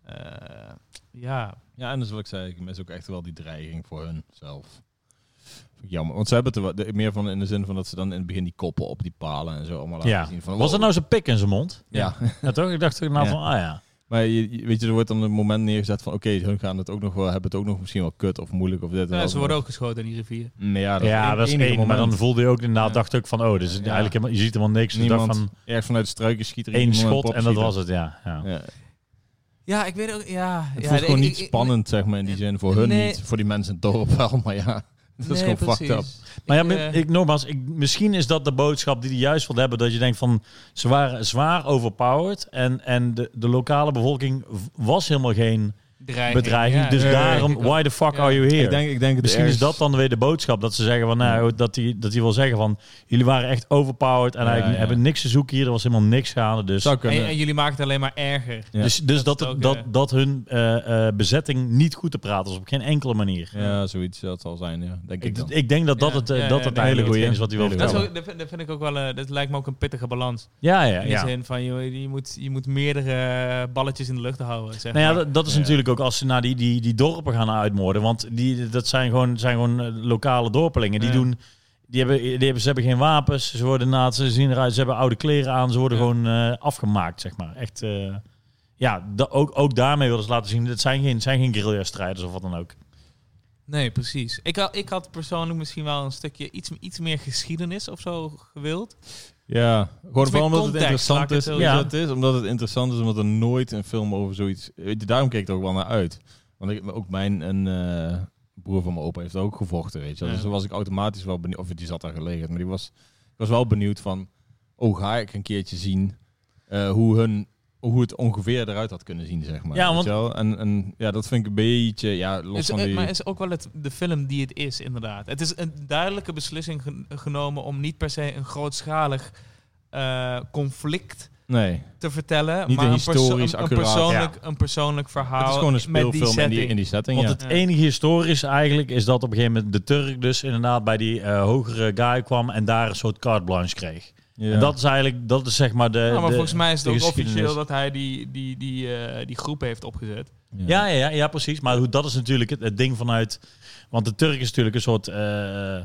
A: Eh, ja.
D: Ja, en dus wat ik zei, ik mis ook echt wel die dreiging voor hunzelf. Vind ik Jammer, want ze hebben het er wel- de- meer van in de zin van dat ze dan in het begin die koppen op die palen en zo allemaal laten
B: ja.
D: zien. Van,
B: Was
D: wow.
B: dat nou zijn pik in zijn mond?
D: Ja,
B: Ja, toch? Ik dacht nou
D: Ja.
B: van, ah ja.
D: maar je, je- weet je, er wordt dan een moment neergezet van oké, hun gaan het ook nog wel, hebben het ook nog misschien wel kut of moeilijk of dit. en
A: Ja,
D: dat.
A: ze worden ook geschoten in die rivier.
D: Nee, ja, dat,
B: Ja,
D: is
B: dat is één, maar dan voelde je ook inderdaad,
D: Ja.
B: dacht ook van, oh, dus is
D: Ja.
B: eigenlijk helemaal, je ziet helemaal niks. Je dacht
D: niemand
B: van,
D: erg vanuit de struiken schiet er
B: één
D: iemand een
B: schot
D: pop
B: en dat
D: schieten.
B: was het, ja. ja.
D: Ja.
A: Ja, ik weet ook. Ja,
D: Het
A: ja,
D: voelt
A: ik-
D: gewoon
A: ik-
D: niet
A: ik-
D: spannend, zeg maar, in die zin. Voor hun
A: Nee.
D: niet, voor die mensen in het dorp wel, maar ja. Dat is
A: nee,
D: gewoon fucked up.
A: precies.
B: Maar ja,
A: Ik,
B: maar
A: eh,
B: ik, nogmaals, ik, misschien is dat de boodschap die hij juist wil hebben. Dat je denkt van, ze waren zwaar overpowered. En, en de, de lokale bevolking v- was helemaal geen
A: dreiging,
B: bedreiging.
A: ja.
B: dus
A: Ja, ja,
B: daarom,
A: ik ook.
B: why the fuck
A: Ja.
B: are you here?
D: Ik denk, ik denk het
B: misschien is
D: ergens-
B: dat dan weer de boodschap. Dat ze zeggen van, nou, dat hij dat die wil zeggen van, jullie waren echt overpowered. En
D: Ja,
B: eigenlijk
D: ja.
B: hebben niks te zoeken hier. Er was helemaal niks gaande. Dus,
D: zou
A: En,
D: kunnen.
A: en jullie maken het alleen maar erger.
D: Ja.
B: dus, dus dat,
A: Dat is
B: dat,
A: ook,
B: dat,
A: eh,
B: hun eh, eh, bezetting niet goed te praten was. Op geen enkele manier.
D: Ja, zoiets dat zal zijn, ja. Denk ik
B: Ik,
D: dan.
B: ik denk dat dat
A: Ja,
B: het, eh,
A: ja, ja,
B: dat
A: ja,
B: het
A: ja.
B: eigenlijk
D: Hele
B: hetgeen is wat hij wil
D: goeie. Hele
A: Dat, is
B: vertellen.
A: ook, dat vind- dat vind ik ook wel. eh, dat lijkt me ook een pittige balans.
B: Ja, ja,
A: In
B: ja.
A: de zin van, joh, je moet, je moet meerdere eh, balletjes in de lucht houden, zeg
B: Nou ja,
A: maar.
B: dat, dat is
D: Ja.
B: natuurlijk ook als ze naar die, die, die dorpen gaan uitmoorden. Want die, dat zijn gewoon, zijn gewoon eh, lokale dorpelingen. Die,
A: Ja.
B: doen, die, hebben, die hebben, ze hebben geen wapens. Ze worden na, ze zien eruit, ze hebben oude kleren aan. Ze worden
A: Ja.
B: gewoon eh, afgemaakt, zeg maar. Echt, eh, ja, da- ook, ook daarmee wilden ze laten zien. Het zijn geen, het zijn geen guerrilla-strijders of wat dan ook.
A: Nee, precies. Ik had, ik had persoonlijk misschien wel een stukje iets, iets meer geschiedenis of zo gewild.
D: Ja, gewoon
A: meer
D: vooral omdat het
A: context, laat ik
D: interessant
A: het
D: is.
A: zo
D: Weet je
B: zeggen.
D: wat het is. Omdat het interessant is, omdat er nooit een film over zoiets... Weet je, daarom keek ik er ook wel naar uit. Want ik, ook mijn een, eh, broer van mijn opa heeft ook gevochten, weet je wel.
A: Ja.
D: Dus dan was ik automatisch wel benieuwd... Of die zat daar gelegen, maar die was, ik was wel benieuwd van... Oh, ga ik een keertje zien eh, hoe, hun, hoe het ongeveer eruit had kunnen zien, zeg maar.
B: Ja,
D: weet
B: want-
D: je wel? En, en ja, dat vind ik een beetje... Ja, los
A: Is,
D: van
A: het-
D: die...
A: Maar is ook wel het, de film die het is, inderdaad. Het is een duidelijke beslissing gen- genomen om niet per se een grootschalig eh, conflict
D: nee,
A: te vertellen.
D: Niet
A: maar
D: een
A: perso-
D: historisch
A: een,
D: accuraat-
A: persoonlijk, een persoonlijk verhaal
D: het is gewoon een
A: Ah, met die
D: speelfilm in, die,
A: setting.
D: in die setting,
B: Want
D: ja.
B: het enige historisch eigenlijk is dat op een gegeven moment de Turk dus inderdaad bij die eh, hogere guy kwam en daar een soort carte blanche kreeg.
D: Ja.
B: En dat is eigenlijk, dat is zeg maar de...
A: Ja, maar
B: de-
A: volgens mij is het
B: de
A: ook
B: geschiedenis.
A: officieel dat hij die, die, die, eh, die groep heeft opgezet.
B: Ja, ja, ja, ja, precies. Maar hoe, dat is natuurlijk het, het ding vanuit. Want de Turk is natuurlijk een soort. eh,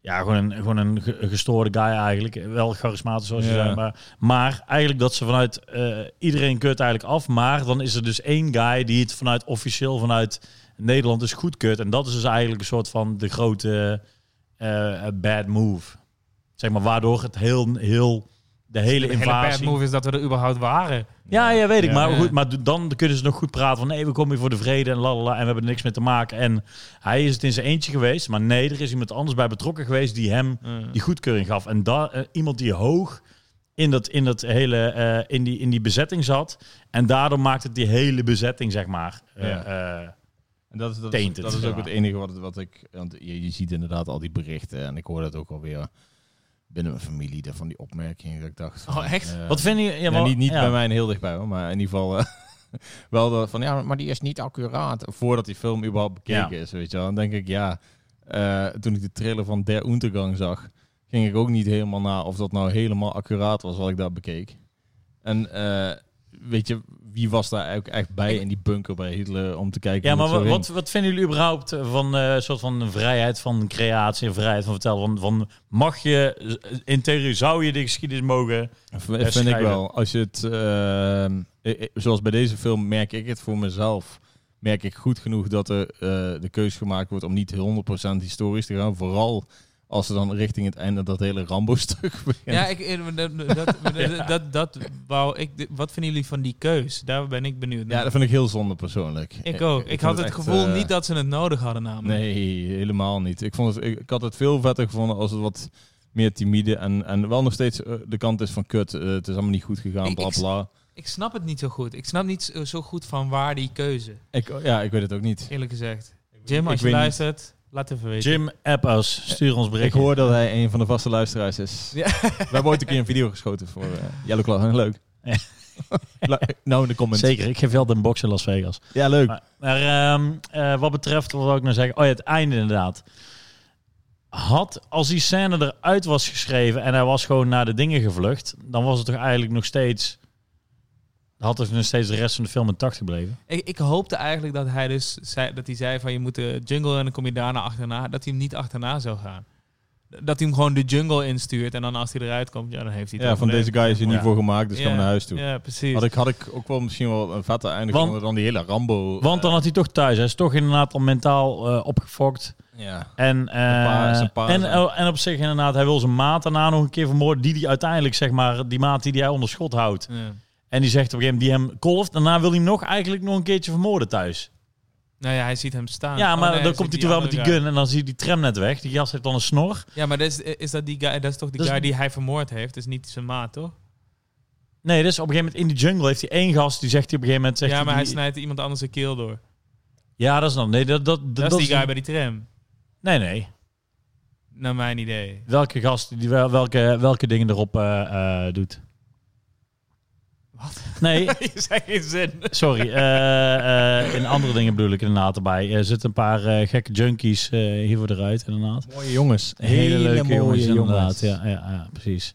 B: ja, gewoon een, gewoon een ge- een gestoorde guy eigenlijk. Wel charismatisch zoals je
D: Ja.
B: zei. Maar, maar eigenlijk dat ze vanuit. eh, iedereen keurt eigenlijk af. Maar dan is er dus één guy die het vanuit officieel vanuit Nederland is goedkeurt. En dat is dus eigenlijk een soort van de grote eh, bad move. Zeg maar waardoor het heel. heel de hele
A: De hele bad
B: invasie.
A: move is dat we er überhaupt waren.
B: Ja, ja, weet ik.
D: Ja.
B: maar
A: Ja.
B: goed, maar do- dan kunnen ze nog goed praten van... nee, we komen hier voor de vrede en lalala en we hebben er niks mee te maken. En hij is het in zijn eentje geweest. Maar nee, er is iemand anders bij betrokken geweest die hem
A: Eh.
B: die goedkeuring gaf. En daar eh, iemand die hoog in, dat, in, dat hele, eh, in, die, in die bezetting zat. En daardoor maakt het die hele bezetting, zeg maar... eh, eh,
D: En dat is, dat is,
B: Tainted,
D: dat is
B: zeg
D: ook
B: maar.
D: het enige wat, wat ik... Want je, je ziet inderdaad al die berichten. En ik hoor dat ook alweer binnen mijn familie. daar Van die opmerkingen. Dat ik dacht... van,
A: Oh, echt?
D: eh,
B: wat vind je... Ja,
D: ja,
B: wel-
D: niet niet
B: ja.
D: bij mij en heel dichtbij hoor. Maar in ieder geval... eh, wel dat van... Ja, maar die is niet accuraat. Voordat die film überhaupt bekeken is. Weet je wel. Dan denk ik, ja... eh, toen ik de trailer van Der Untergang zag... ging ik ook niet helemaal na of dat nou helemaal accuraat was wat ik daar bekeek. En eh, weet je, wie was daar eigenlijk echt bij in die bunker bij Hitler om te kijken
B: Ja,
D: hoe
B: maar
D: het
B: wa-
D: zo ging?
B: wat, wat vinden jullie überhaupt van eh, een soort van vrijheid van creatie en vrijheid van vertellen? Van, van mag je, eh, in theorie zou je de geschiedenis mogen.
D: V- vind ik
B: schrijven.
D: wel. Als je het, ehm, eh, eh, zoals bij deze film, merk ik het voor mezelf. Merk ik goed genoeg dat er eh, de keus gemaakt wordt om niet 100% historisch te gaan. Vooral als ze dan richting het einde dat hele Rambo-stuk
A: Ja,
D: beginnen.
A: ik, eh, dat, dat, dat, dat, dat wou ik. Wat vinden jullie van die keus? Daar ben ik benieuwd naar.
D: Ja, dat vind ik heel zonde persoonlijk.
A: ik ook. Ik,
D: vind
A: had het
D: echt,
A: gevoel
D: eh,
A: niet dat ze het nodig hadden, namelijk.
D: Nee, helemaal niet. Ik, vond het, ik, ik had het veel vetter gevonden als het wat meer timide en, en wel nog steeds eh, de kant is van kut. eh, het is allemaal niet goed gegaan,
A: Ik-
D: bla
A: ik-
D: bla.
A: Ik snap het niet zo goed. Ik snap niet zo- zo goed van waar die keuze,
D: Ik, ja, ik weet het ook niet.
A: eerlijk gezegd. Jim, als
D: ik
A: je
D: weet niet.
A: luistert, laat even weten.
B: Jim, app us. Stuur ons
D: Ik
B: berichtje.
D: hoor dat hij een van de vaste luisteraars is.
A: Ja.
D: We hebben ooit een keer een video geschoten voor eh, Yellow Claw. Huh, Leuk.
B: Ja.
D: La- nou, in de comments.
B: Zeker, ik geef wel een box in Las Vegas.
D: Ja, leuk.
A: Ah,
B: Maar, maar, ehm, eh, wat betreft, wat wil ik nou zeggen? Oh ja, het einde inderdaad. Had, als die scène eruit was geschreven en hij was gewoon naar de dingen gevlucht, dan was het toch eigenlijk nog steeds, had het nog steeds de rest van de film intact gebleven.
A: Ik, ik hoopte eigenlijk dat hij dus zei, dat hij zei van je moet de jungle en dan kom je daarna achterna. Dat hij hem niet achterna zou gaan. Dat hij hem gewoon de jungle instuurt en dan als hij eruit komt, ja, dan heeft hij het
D: Ja, van
A: overleefd.
D: deze guy is hier niet
B: Ja.
D: voor gemaakt, dus
A: Ja,
D: gaan we naar huis toe.
A: Ja, precies.
D: Had ik, had ik ook wel misschien wel een vette einde
B: Want-
D: gevonden dan die hele Rambo.
B: Want dan
D: eh,
B: had hij toch thuis. Hij is toch inderdaad al mentaal eh, opgefokt.
D: ja.
B: En, eh,
D: paar- zijn paar
B: en, oh,
D: zijn-
B: en op zich inderdaad, hij wil zijn maat daarna nog een keer vermoorden. Die die uiteindelijk, zeg maar, die maat die hij onder schot houdt.
A: Ja.
B: En die zegt op een gegeven moment, die hem kolft. Daarna wil hij hem nog eigenlijk nog een keertje vermoorden thuis.
A: Nou ja, hij ziet hem staan.
B: ja, maar
A: Oh, nee,
B: dan
A: hij
B: komt hij
A: ziet
B: toch wel met die
A: andere
B: gun. En dan zie je die tram net weg. Die gast heeft dan een snor.
A: guy. Ja, maar dat is, eh, is dat die guy, dat is toch die
B: Dat is-
A: guy die hij vermoord heeft? Dus niet zijn maat, toch?
B: Nee, dus op een gegeven moment in de jungle heeft hij één gast. Die zegt hij op een gegeven moment... Zegt
A: ja, maar hij
B: die-
A: snijdt iemand anders een keel door.
B: Ja, dat is dan... Nee, dat, dat, dat,
A: Dat,
B: dat
A: is die
B: is-
A: guy bij die tram,
B: Nee, nee.
A: naar mijn idee.
B: Welke gast, die, wel- welke, welke dingen erop eh, eh, doet.
A: Wat?
B: Nee,
A: Je zei geen zin.
B: Sorry, eh, eh, in andere dingen bedoel ik inderdaad erbij. Er zitten een paar eh, gekke junkies eh hiervoor eruit inderdaad.
D: Mooie jongens.
B: Hele, leuke jongens, inderdaad. Ja, ja, ja, precies.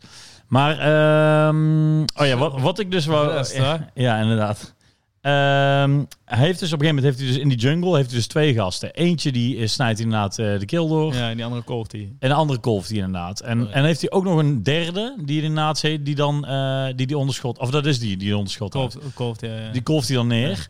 B: Maar, ehm, oh ja, wat, wat ik dus wou...
A: Verrast, hè?
B: Ja, inderdaad. Ehm, hij heeft dus op een gegeven moment, heeft hij dus in die jungle, heeft hij dus twee gasten. Eentje die eh, snijdt inderdaad eh, de keel door.
A: Ja, en die andere koopt hij.
B: En een andere kolf die inderdaad. En,
A: Oh ja.
B: en heeft hij ook nog een derde, die inderdaad heet, die dan eh, die, die onderschot... Of dat is die, die onderschot houdt.
A: Koopt, koopt, ja. ja.
B: Die kolft hij dan neer.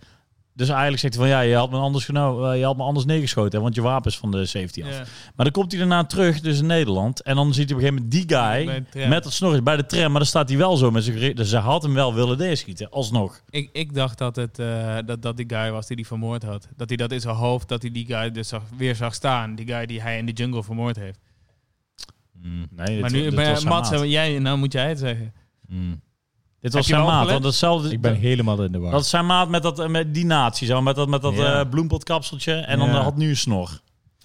B: Dus eigenlijk zegt hij van ja, je had me anders, geno- eh, je had me anders neergeschoten, hè, want je wapen is van de safety af.
A: Ja.
B: Maar dan komt hij daarna terug, dus in Nederland. En dan ziet hij op een gegeven moment die
A: Bij de
B: guy
A: tram.
B: met dat snorretje bij de tram. Maar dan staat hij wel zo met zijn gere- Dus ze had hem wel willen neerschieten, alsnog.
A: Ik, ik dacht dat, het, eh, dat dat die guy was die die vermoord had. Dat hij dat in zijn hoofd, dat hij die guy dus zag, weer zag staan. Die guy die hij in de jungle vermoord heeft.
B: Nee,
A: maar nu,
B: dit
A: maar
B: was zijn
A: Mats,
B: maat. Hmm.
A: jij, nou moet jij het zeggen.
B: Dit
A: heb
B: was
A: je
B: zijn
A: wel
B: maat,
A: opgelet?
B: want datzelfde...
D: Ik ben helemaal in de war.
B: dat is zijn maat met, dat, eh, met die natie, zeg maar, met dat, met dat
D: Ja.
B: eh, bloempotkapseltje. En dan
D: Ja.
B: eh, had nu een snor.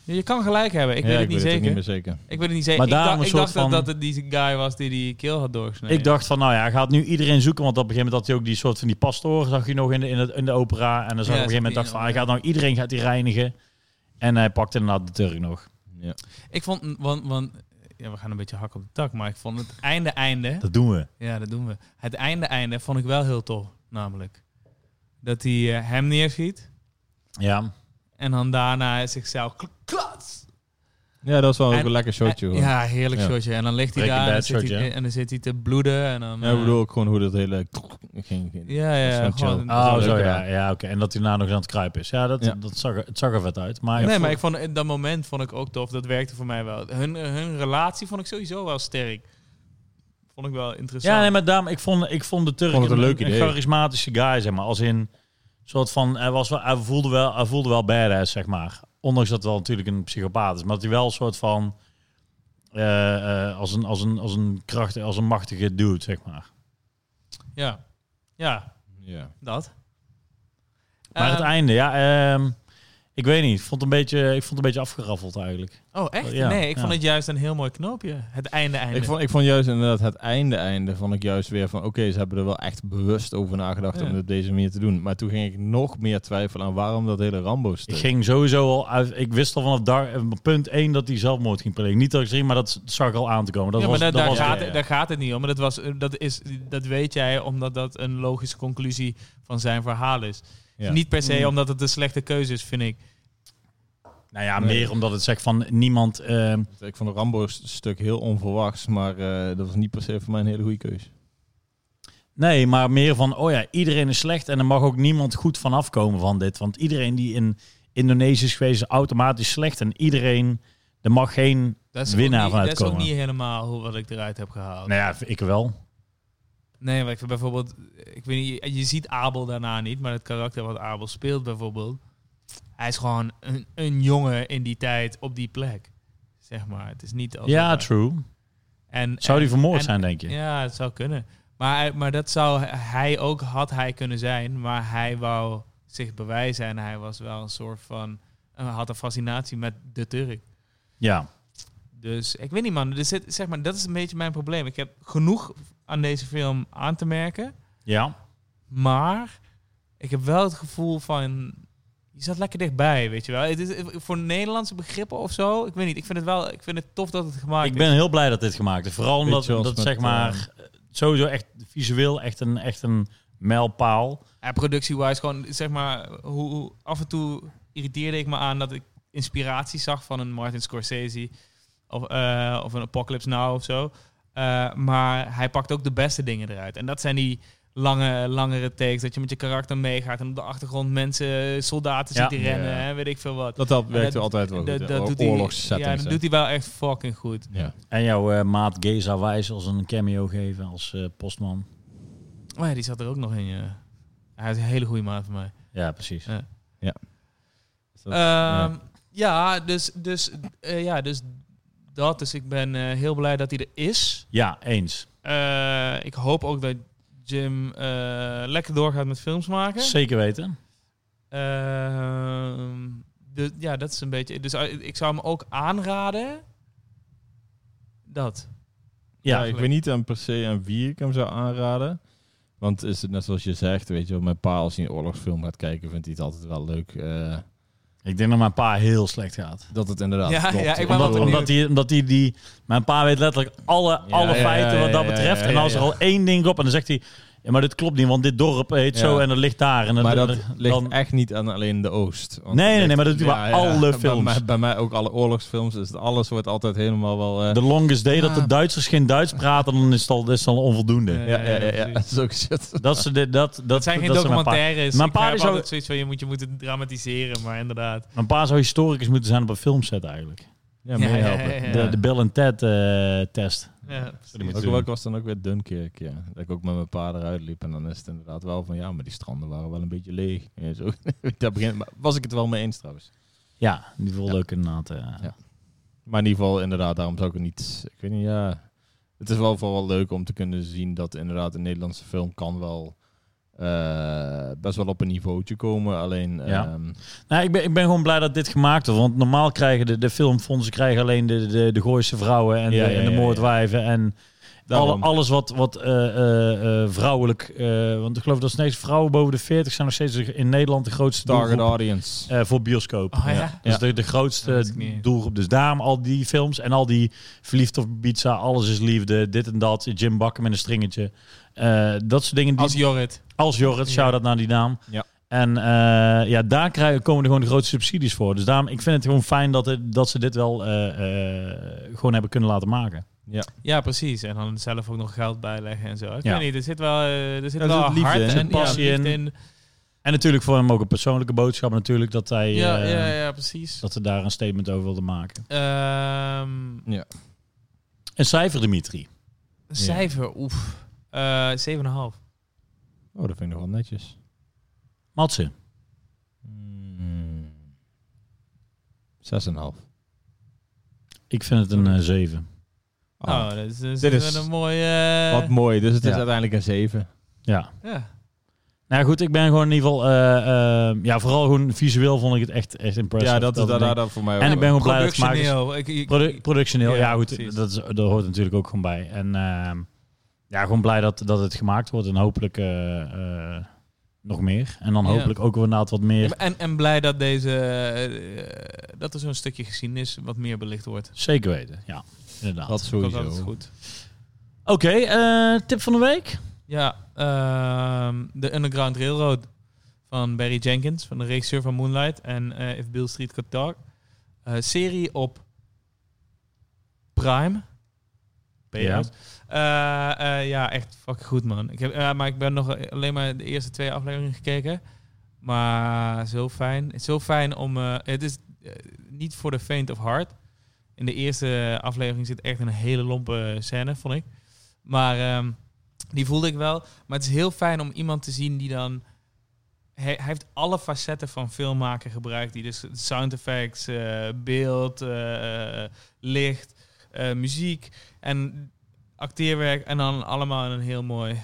A: Ja, Je kan gelijk hebben, ik
D: Ja,
A: weet het niet
D: ook
A: zeker.
D: meer zeker.
A: ik weet het niet zeker.
B: Maar
A: ik dacht,
B: daarom een
A: ik dacht
B: soort
A: dat,
B: van-
A: dat het die guy was die die keel had doorgesneden.
B: Ik dacht van, nou ja, hij gaat nu iedereen zoeken. Want op een gegeven moment had hij ook die soort van die pastoor, zag je nog in de, in het, in de opera. En dan zag
A: Ja,
B: je op een gegeven moment dacht van,
A: ja.
B: hij gaat nou iedereen gaat die reinigen. En hij pakt inderdaad de Turk nog.
D: Ja.
A: Ik vond, want, want ja, we gaan een beetje hak op de tak, maar ik vond het einde einde.
B: Dat doen we.
A: Ja, dat doen we. Het einde einde vond ik wel heel tof, namelijk. Dat hij eh, hem neerschiet
B: Ja.
A: en dan daarna zichzelf kl- klats.
D: ja, dat is wel ook
A: En-
D: een lekker shotje. hoor.
A: Ja, heerlijk
D: Ja.
A: shotje. En dan ligt hij
B: Breaking
A: daar en dan,
B: Bad
A: zit
B: shotje,
A: hij,
B: hè?
A: en dan zit hij te bloeden. En dan,
D: Ja, ik
A: eh,
D: bedoel ook gewoon hoe dat hele... Ging, ging.
A: Ja,
D: Dat is
A: ja,
D: wel
A: gewoon,
D: chill.
A: dat is
B: Oh,
A: wel
D: leuk
B: zo ja.
D: gedaan.
B: Ja, oké. En dat hij daarna nog eens aan het kruipen is. Ja, dat,
D: Ja.
B: dat zag, er- het zag er vet uit. Maar
A: nee, maar ik vond in dat moment vond ik ook tof. Dat werkte voor mij wel. Hun, eh, hun relatie vond ik sowieso wel sterk. Vond ik wel interessant.
B: Ja, nee, maar daarom, ik vond, ik vond de Turk
D: Vond het een leuk idee.
B: charismatische guy, zeg maar. Als in, soort van, hij, was wel, hij, voelde wel, hij voelde wel badass, zeg maar. Ondanks dat hij wel natuurlijk een psychopaat is. Maar dat hij wel een soort van, eh, eh, als, een, als, een, als een krachtig, als een machtige dude, zeg maar.
A: ja. ja,
D: Ja.
A: dat.
B: Maar
A: Eh,
B: het einde, ja. ehm, Ik weet niet. Ik vond het een beetje, ik vond het een beetje afgeraffeld eigenlijk.
A: Oh, echt?
B: Ja,
A: nee, ik
B: ja.
A: vond het juist een heel mooi knoopje. Het einde-einde.
D: Ik vond, ik vond juist inderdaad het einde einde vond ik juist weer van oké, ze hebben er wel echt bewust over nagedacht om
A: Ja.
D: het op deze manier te doen. Maar toen ging ik nog meer twijfelen aan waarom dat hele Rambo
B: Ik
D: stuk.
B: ging sowieso al uit. Ik wist al vanaf daar, eh, punt 1 dat hij zelfmoord ging plegen. Niet dat ik zeg, maar dat zag ik al aan te komen. Dat
A: ja, maar
B: was,
A: daar-
B: dat
A: daar,
B: was,
A: gaat,
D: ja, ja.
A: daar gaat het niet om. Maar dat, was, eh, dat, is, dat weet jij omdat dat een logische conclusie van zijn verhaal is.
D: Ja.
A: Niet per
B: Mm.
A: se omdat het een slechte keuze is, vind ik.
B: Nou ja,
D: Nee.
B: meer omdat het zegt van niemand. eh,
D: Ik vond het Rambo stuk heel onverwachts, maar eh, dat was niet per se voor mij een hele goede keuze.
B: nee, maar meer van, oh ja, iedereen is slecht en er mag ook niemand goed van afkomen van dit. Want iedereen die in Indonesië is geweest is automatisch slecht en iedereen, er mag geen...
A: Dat is,
B: Winnaar
A: ook niet,
B: van
A: dat is ook
B: uitkomen.
A: niet helemaal hoe- wat ik eruit heb gehaald.
B: Nou ja, ik wel.
A: Nee, maar ik vind bijvoorbeeld, ik weet niet, je ziet Abel daarna niet, maar het karakter wat Abel speelt bijvoorbeeld, hij is gewoon een, een jongen in die tijd op die plek, zeg maar. Het is niet als
B: Ja, true.
A: En,
B: Zou die vermoord
A: en-
B: zijn, denk je?
A: en- ja, het zou kunnen. Maar, hij- maar dat zou hij ook, had hij kunnen zijn, maar hij wou zich bewijzen en hij was wel een soort van, eh, had een fascinatie met de Turk.
B: Ja.
A: Dus ik weet niet, man. Er zit, zeg maar, dat is een beetje mijn probleem. Ik heb genoeg aan deze film aan te merken.
B: Ja.
A: Maar ik heb wel het gevoel van. Je zat lekker dichtbij, weet je wel. Het is voor Nederlandse begrippen of zo. Ik weet niet. Ik vind het wel. Ik vind het tof dat het gemaakt
B: Ik ben heel blij dat dit gemaakt is. Vooral
D: Ah, Weet
B: omdat
D: je wel,
B: dat,
D: met, eh,
B: zeg maar, sowieso echt visueel echt een, echt een mijlpaal.
A: is. Ja, productie-wise, gewoon zeg maar. Hoe, hoe- af en toe irriteerde ik me aan dat ik inspiratie zag van een Martin Scorsese of, eh, of een Apocalypse Now of zo. Eh, maar hij pakt ook de beste dingen eruit. En dat zijn die lange, langere takes. Dat je met je karakter meegaat en op de achtergrond mensen, soldaten
B: Ja.
A: ziet die rennen,
D: Ja.
A: hè, weet ik veel wat.
D: Dat, dat
A: werkte
D: werkte
A: dat-
D: altijd wel
A: Dat,
D: goed.
A: dat doet hij, ja,
D: Oorlogssettings.
A: dat doet hij wel echt fucking goed.
D: ja.
B: En jouw eh, maat Geza Wijs als een cameo geven als eh, postman.
A: Oh ja, die zat er ook nog in. ja. Hij is een hele goede maat voor mij.
B: Ja, precies.
A: Ja.
D: Dat-
A: Ehm, ja. dus, dus, eh, ja, dus dat. Dus ik ben eh, heel blij dat hij er is.
B: Ja, eens.
A: Eh, ik hoop ook dat Jim eh, lekker doorgaat met films maken.
B: Zeker weten.
A: Ehm, dus, ja, dat is een beetje... Dus eh, ik zou hem ook aanraden... Dat.
D: Ja,
B: Ja,
D: ik
A: eigenlijk.
D: weet niet aan per se aan wie ik hem zou aanraden. Want is het net zoals je zegt, weet je wel, mijn pa als hij een oorlogsfilm gaat kijken, vindt hij het altijd wel leuk. eh,
B: ik denk dat mijn pa heel slecht gaat.
D: dat het inderdaad
A: Ja,
D: klopt.
A: ja, ik ben wel
D: Omdat-
B: Omdat,
A: benieuwd.
B: omdat, die, omdat die, die... Mijn pa weet letterlijk alle,
D: Ja,
B: alle
D: ja,
B: feiten
D: ja,
B: wat dat
D: ja,
B: betreft.
D: ja,
B: en
D: ja,
B: als er
D: ja.
B: al één ding klopt, en dan zegt hij... Ja, maar dit klopt niet, want dit dorp heet
D: Ja.
B: zo en dat ligt daar. En dan,
D: maar dat ligt
B: dan-
D: echt niet aan alleen de Oost. Want
B: Nee,
D: het
B: nee, nee,
D: ligt-
B: maar dat doet bij alle films.
D: Bij mij, bij mij ook alle oorlogsfilms. Dus alles wordt altijd helemaal wel... eh,
B: de longest day dat de Duitsers geen Duits praten, dan is het al, is het al onvoldoende.
A: Ja.
D: ja, ja, ja, ja,
A: precies.
D: dat is ook shit.
B: Dat, ze dit, dat, dat,
A: Dat zijn geen
B: dat ze mijn pa-
A: documentaires.
B: Mijn
A: Mijn
B: pa
A: pa
B: is
A: is
B: ook-
A: altijd zoiets van... Je moet, je moet het dramatiseren, maar inderdaad...
B: Mijn pa zou historicus moeten zijn op een filmset eigenlijk.
D: Ja,
A: ja,
D: meehelpen.
A: ja, ja, ja.
B: De, de Bill en Ted eh, test.
A: Ja,
B: die
D: Ook
B: moeten
D: welk was dan ook weer Dunkirk, ja. Dat ik ook met mijn pa eruit liep en dan is het inderdaad wel van, ja, maar die stranden waren wel een beetje leeg. En zo. Daar begin, maar was ik het wel mee eens trouwens.
B: Ja, die wilde ook inderdaad. eh,
D: Maar in ieder geval, inderdaad, daarom zou ik het niet, ik weet niet, ja. Het is wel vooral leuk om te kunnen zien dat inderdaad een Nederlandse film kan wel eh, best wel op een niveautje komen. Alleen,
B: Ja.
D: ehm,
B: Nou, ik ben, ik ben gewoon blij dat dit gemaakt wordt. Want normaal krijgen de, de filmfondsen krijgen alleen de, de, de Gooise vrouwen en,
D: Ja,
B: de,
D: ja,
B: en de
D: ja, ja.
B: moordwijven. En alle,
D: daarom.
B: alles wat, wat eh, eh, eh, vrouwelijk... eh, want ik geloof dat steeds vrouwen boven de 40 zijn nog steeds de- in Nederland de grootste
D: Target
B: doelgroep
D: audience.
B: eh, voor bioscoop.
A: Oh, ja?
B: Dus
D: Ja.
B: de, de
A: Dat
B: grootste
A: wist ik niet.
B: doelgroep. Dus daarom al die films en al die verliefd op pizza, alles is liefde, dit en dat, Jim Bakker met een stringetje. Eh, dat soort dingen. Die,
A: Als
B: als,
A: Jorrit.
B: Jorrit, shout-out naar die naam.
D: Ja.
B: En eh, ja, daar krijgen, komen er gewoon de grote subsidies voor. Dus daarom, ik vind het gewoon fijn dat, het, dat ze dit wel eh, eh, gewoon hebben kunnen laten maken.
D: Ja.
A: Ja, precies. En dan zelf ook nog geld bijleggen en zo. Ik
B: Ja.
A: weet niet, er zit wel, eh, er
D: Ja,
A: zit
D: er
A: wel
D: zit liefde
A: hart
D: in, er
A: en
D: zit
A: ja,
B: passie
A: liefde
B: in. En natuurlijk voor hem ook een persoonlijke boodschap natuurlijk, dat hij
A: Ja,
B: eh,
A: ja, ja, precies.
B: dat ze daar een statement over wilde maken.
A: Ehm,
B: Een cijfer, Dimitri.
A: een cijfer, oef. Eh 7,5.
D: Oh, dat vind ik nog wel netjes.
B: Matsen.
D: Hmm. Zes en een half.
B: Ik vind het een eh 7.
D: Ah.
A: Nou, dat is, dat
D: Dit
A: is
D: is
A: een mooie... eh,
D: Wat mooi, Ah. dus het is
B: Ja.
D: uiteindelijk een 7.
B: Ja.
A: ja.
B: Nou goed, ik ben gewoon in ieder geval... eh, eh, ja, vooral gewoon visueel vond ik het echt, echt impressive.
D: Ja, dat is
B: het ding.
D: daar voor mij
B: En ik ben gewoon blij dat het gemaakt is.
A: Productioneel. Ik, ik-
B: Produ- productioneel,
A: Ja,
B: ja, goed.
A: precies.
B: Dat, is, dat hoort natuurlijk ook gewoon bij. En ehm, ja, gewoon blij dat, dat het gemaakt wordt. En hopelijk eh, eh, nog meer. En dan
A: Ja.
B: hopelijk ook weer inderdaad wat meer.
A: en, en blij dat deze eh, dat er zo'n stukje geschiedenis wat meer belicht wordt.
B: Zeker weten, ja. Inderdaad.
D: Dat
A: Dat is altijd
D: sowieso.
A: goed.
B: Oké, eh, tip van de week.
A: Ja, ehm, de Underground Railroad van Barry Jenkins, van de regisseur van Moonlight en eh, If Bill Street Could Talk. Eh, serie op Prime.
B: Ja.
A: PR's. Ja. eh, ja, echt fucking goed, man. Ik heb, eh, maar ik ben nog eh, alleen maar de eerste twee afleveringen gekeken. Maar zo fijn. Het is zo fijn om... eh, het is eh, niet voor de faint of heart. In de eerste aflevering zit echt een hele lompe scène, vond ik. Maar ehm, die voelde ik wel. Maar het is heel fijn om iemand te zien die dan... Hij, hij heeft alle facetten van filmmaker gebruikt. Die dus sound effects, eh, beeld, eh, eh, licht, eh, muziek en acteerwerk. En dan allemaal in een heel mooi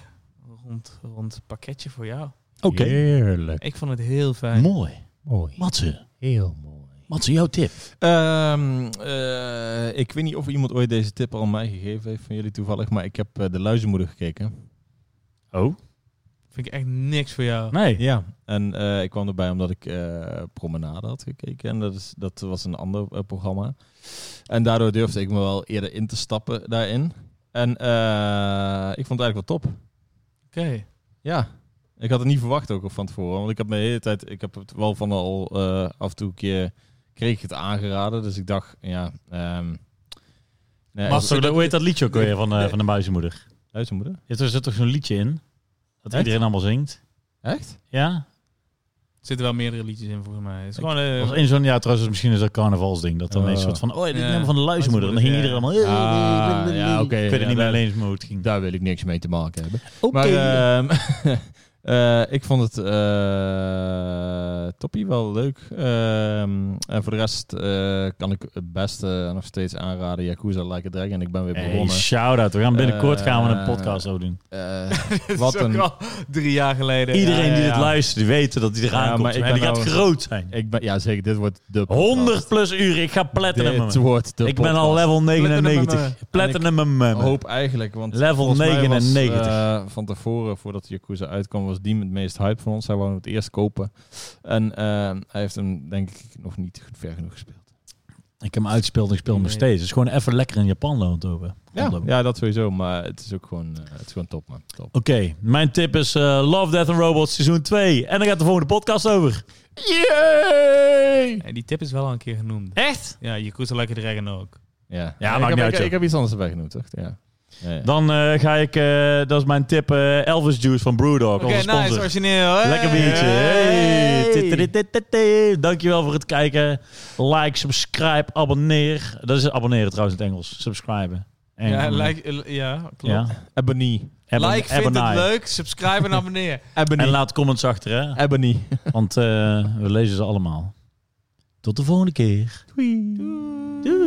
A: rond, rond pakketje voor jou.
B: Oké.
D: Heerlijk.
A: Ik vond het heel fijn.
B: Mooi.
D: Mooi.
B: Matze,
D: Heel mooi.
B: Matze, jouw tip.
D: Ehm, eh, ik weet niet of iemand ooit deze tip al aan mij gegeven heeft van jullie toevallig, maar ik heb eh, De Luizenmoeder gekeken.
B: Oh?
A: Vind ik echt niks voor jou.
B: Nee.
D: Ja. En eh, ik kwam erbij omdat ik eh, Promenade had gekeken en dat, is, dat was een ander eh, programma. En daardoor durfde ik me wel eerder in te stappen daarin. En eh, ik vond het eigenlijk wel top.
A: Oké.
D: Ja, ik had het niet verwacht ook al van tevoren. Want ik heb me de hele tijd, ik heb het wel van al eh, af en toe een keer, kreeg ik het aangeraden. Dus ik dacht, ja, ehm nee,
B: Matze,
D: even-
B: hoe heet dat liedje ook weer van, eh, van de buizenmoeder?
D: Luizenmoeder?
B: Ja, Er zit toch zo'n liedje in? Dat
D: Echt?
B: iedereen allemaal zingt?
D: Echt?
B: Ja?
A: Er zitten wel meerdere liedjes in, volgens mij. Het is
D: Ik-
A: gewoon... eh,
B: Of in zo'n jaar trouwens, misschien is dat carnavalsding. Dat dan
D: Oh.
B: een soort van, oh, dit
A: Ja.
B: nummer van de luismoeder. En dan ging iedereen
A: Luismoeder,
B: allemaal... "Eh."
D: Ah, ja, oké.
B: Ik weet het
D: Ja,
B: niet meer
D: daar-
B: alleen hoe het ging.
D: Daar wil ik niks mee te maken hebben.
E: Oké.
D: Maar ehm, eh, ik vond het eh, toppie wel leuk. Ehm, en voor de rest eh, kan ik het beste nog steeds aanraden. Yakuza Like a Dragon. Ik ben weer
B: Hey,
D: begonnen.
B: shout-out. We gaan binnenkort
D: Eh,
B: gaan we een podcast over doen.
D: Eh,
A: Dit
D: Wat
A: is ook
D: een-
A: al drie jaar geleden.
B: Iedereen
A: Ja,
B: die
A: ja,
B: dit
A: ja.
B: luistert, die weet dat hij eraan
D: Ja,
B: komt.
D: maar ik
B: En die
D: ben
B: gaat
D: nou-
B: groot zijn.
D: ik ben, ja, zeker. Dit wordt de podcast.
B: 100 plus uren. Ik ga platinum.
D: Dit wordt de
B: Ik ben al
D: podcast. eh,
B: level
A: Platinum.
B: 99.
D: Ik
B: Platinum.
D: hoop eigenlijk, want
B: Level
D: volgens mij
B: 99.
D: Was, eh, van tevoren, voordat Yakuza uitkwam, was die het meest hype van ons. Hij wou hem het eerst kopen. En eh, hij heeft hem denk ik nog niet goed- ver genoeg gespeeld.
B: Ik heb hem uitgespeeld en ik speel hem nog
A: Nee.
B: steeds. Het is gewoon even lekker in Japan lopen.
D: Ja, ja, dat sowieso. Maar het is ook gewoon, eh, het is gewoon top, man. Top.
B: Oké, mijn tip is eh, Love, Death and Robots seizoen 2. En daar gaat de volgende podcast over.
D: Yay!
A: En die tip is wel al een keer genoemd.
B: Echt?
A: Ja, Yakuza Like a Dragon ook.
D: Ja,
B: Ja,
D: ik,
B: maakt
D: heb,
B: niet
D: ik,
B: uit, joh.
D: ik heb iets anders erbij genoemd, toch? Ja. Ja, ja.
B: Dan eh, ga ik, eh, dat is mijn tip, eh, Elvis Juice van Brewdog,
A: Oké,
B: onze sponsor.
A: nice, origineel. Hey.
B: Lekker biertje. Hey. Titteritititi. Dankjewel voor het kijken. Like, subscribe, abonneer. Dat is abonneren trouwens in het Engels. Subscriben. En-
A: Ja, like, eh, ja, klopt.
B: Ja.
D: Ebony.
B: Hebben-
A: Like, vind
B: hebben
A: het
B: naai.
A: leuk, subscribe en abonneer.
D: Ebony.
B: En laat comments achter, hè?
D: Ebony.
B: Want eh, we lezen ze allemaal. Tot de volgende keer. Doei.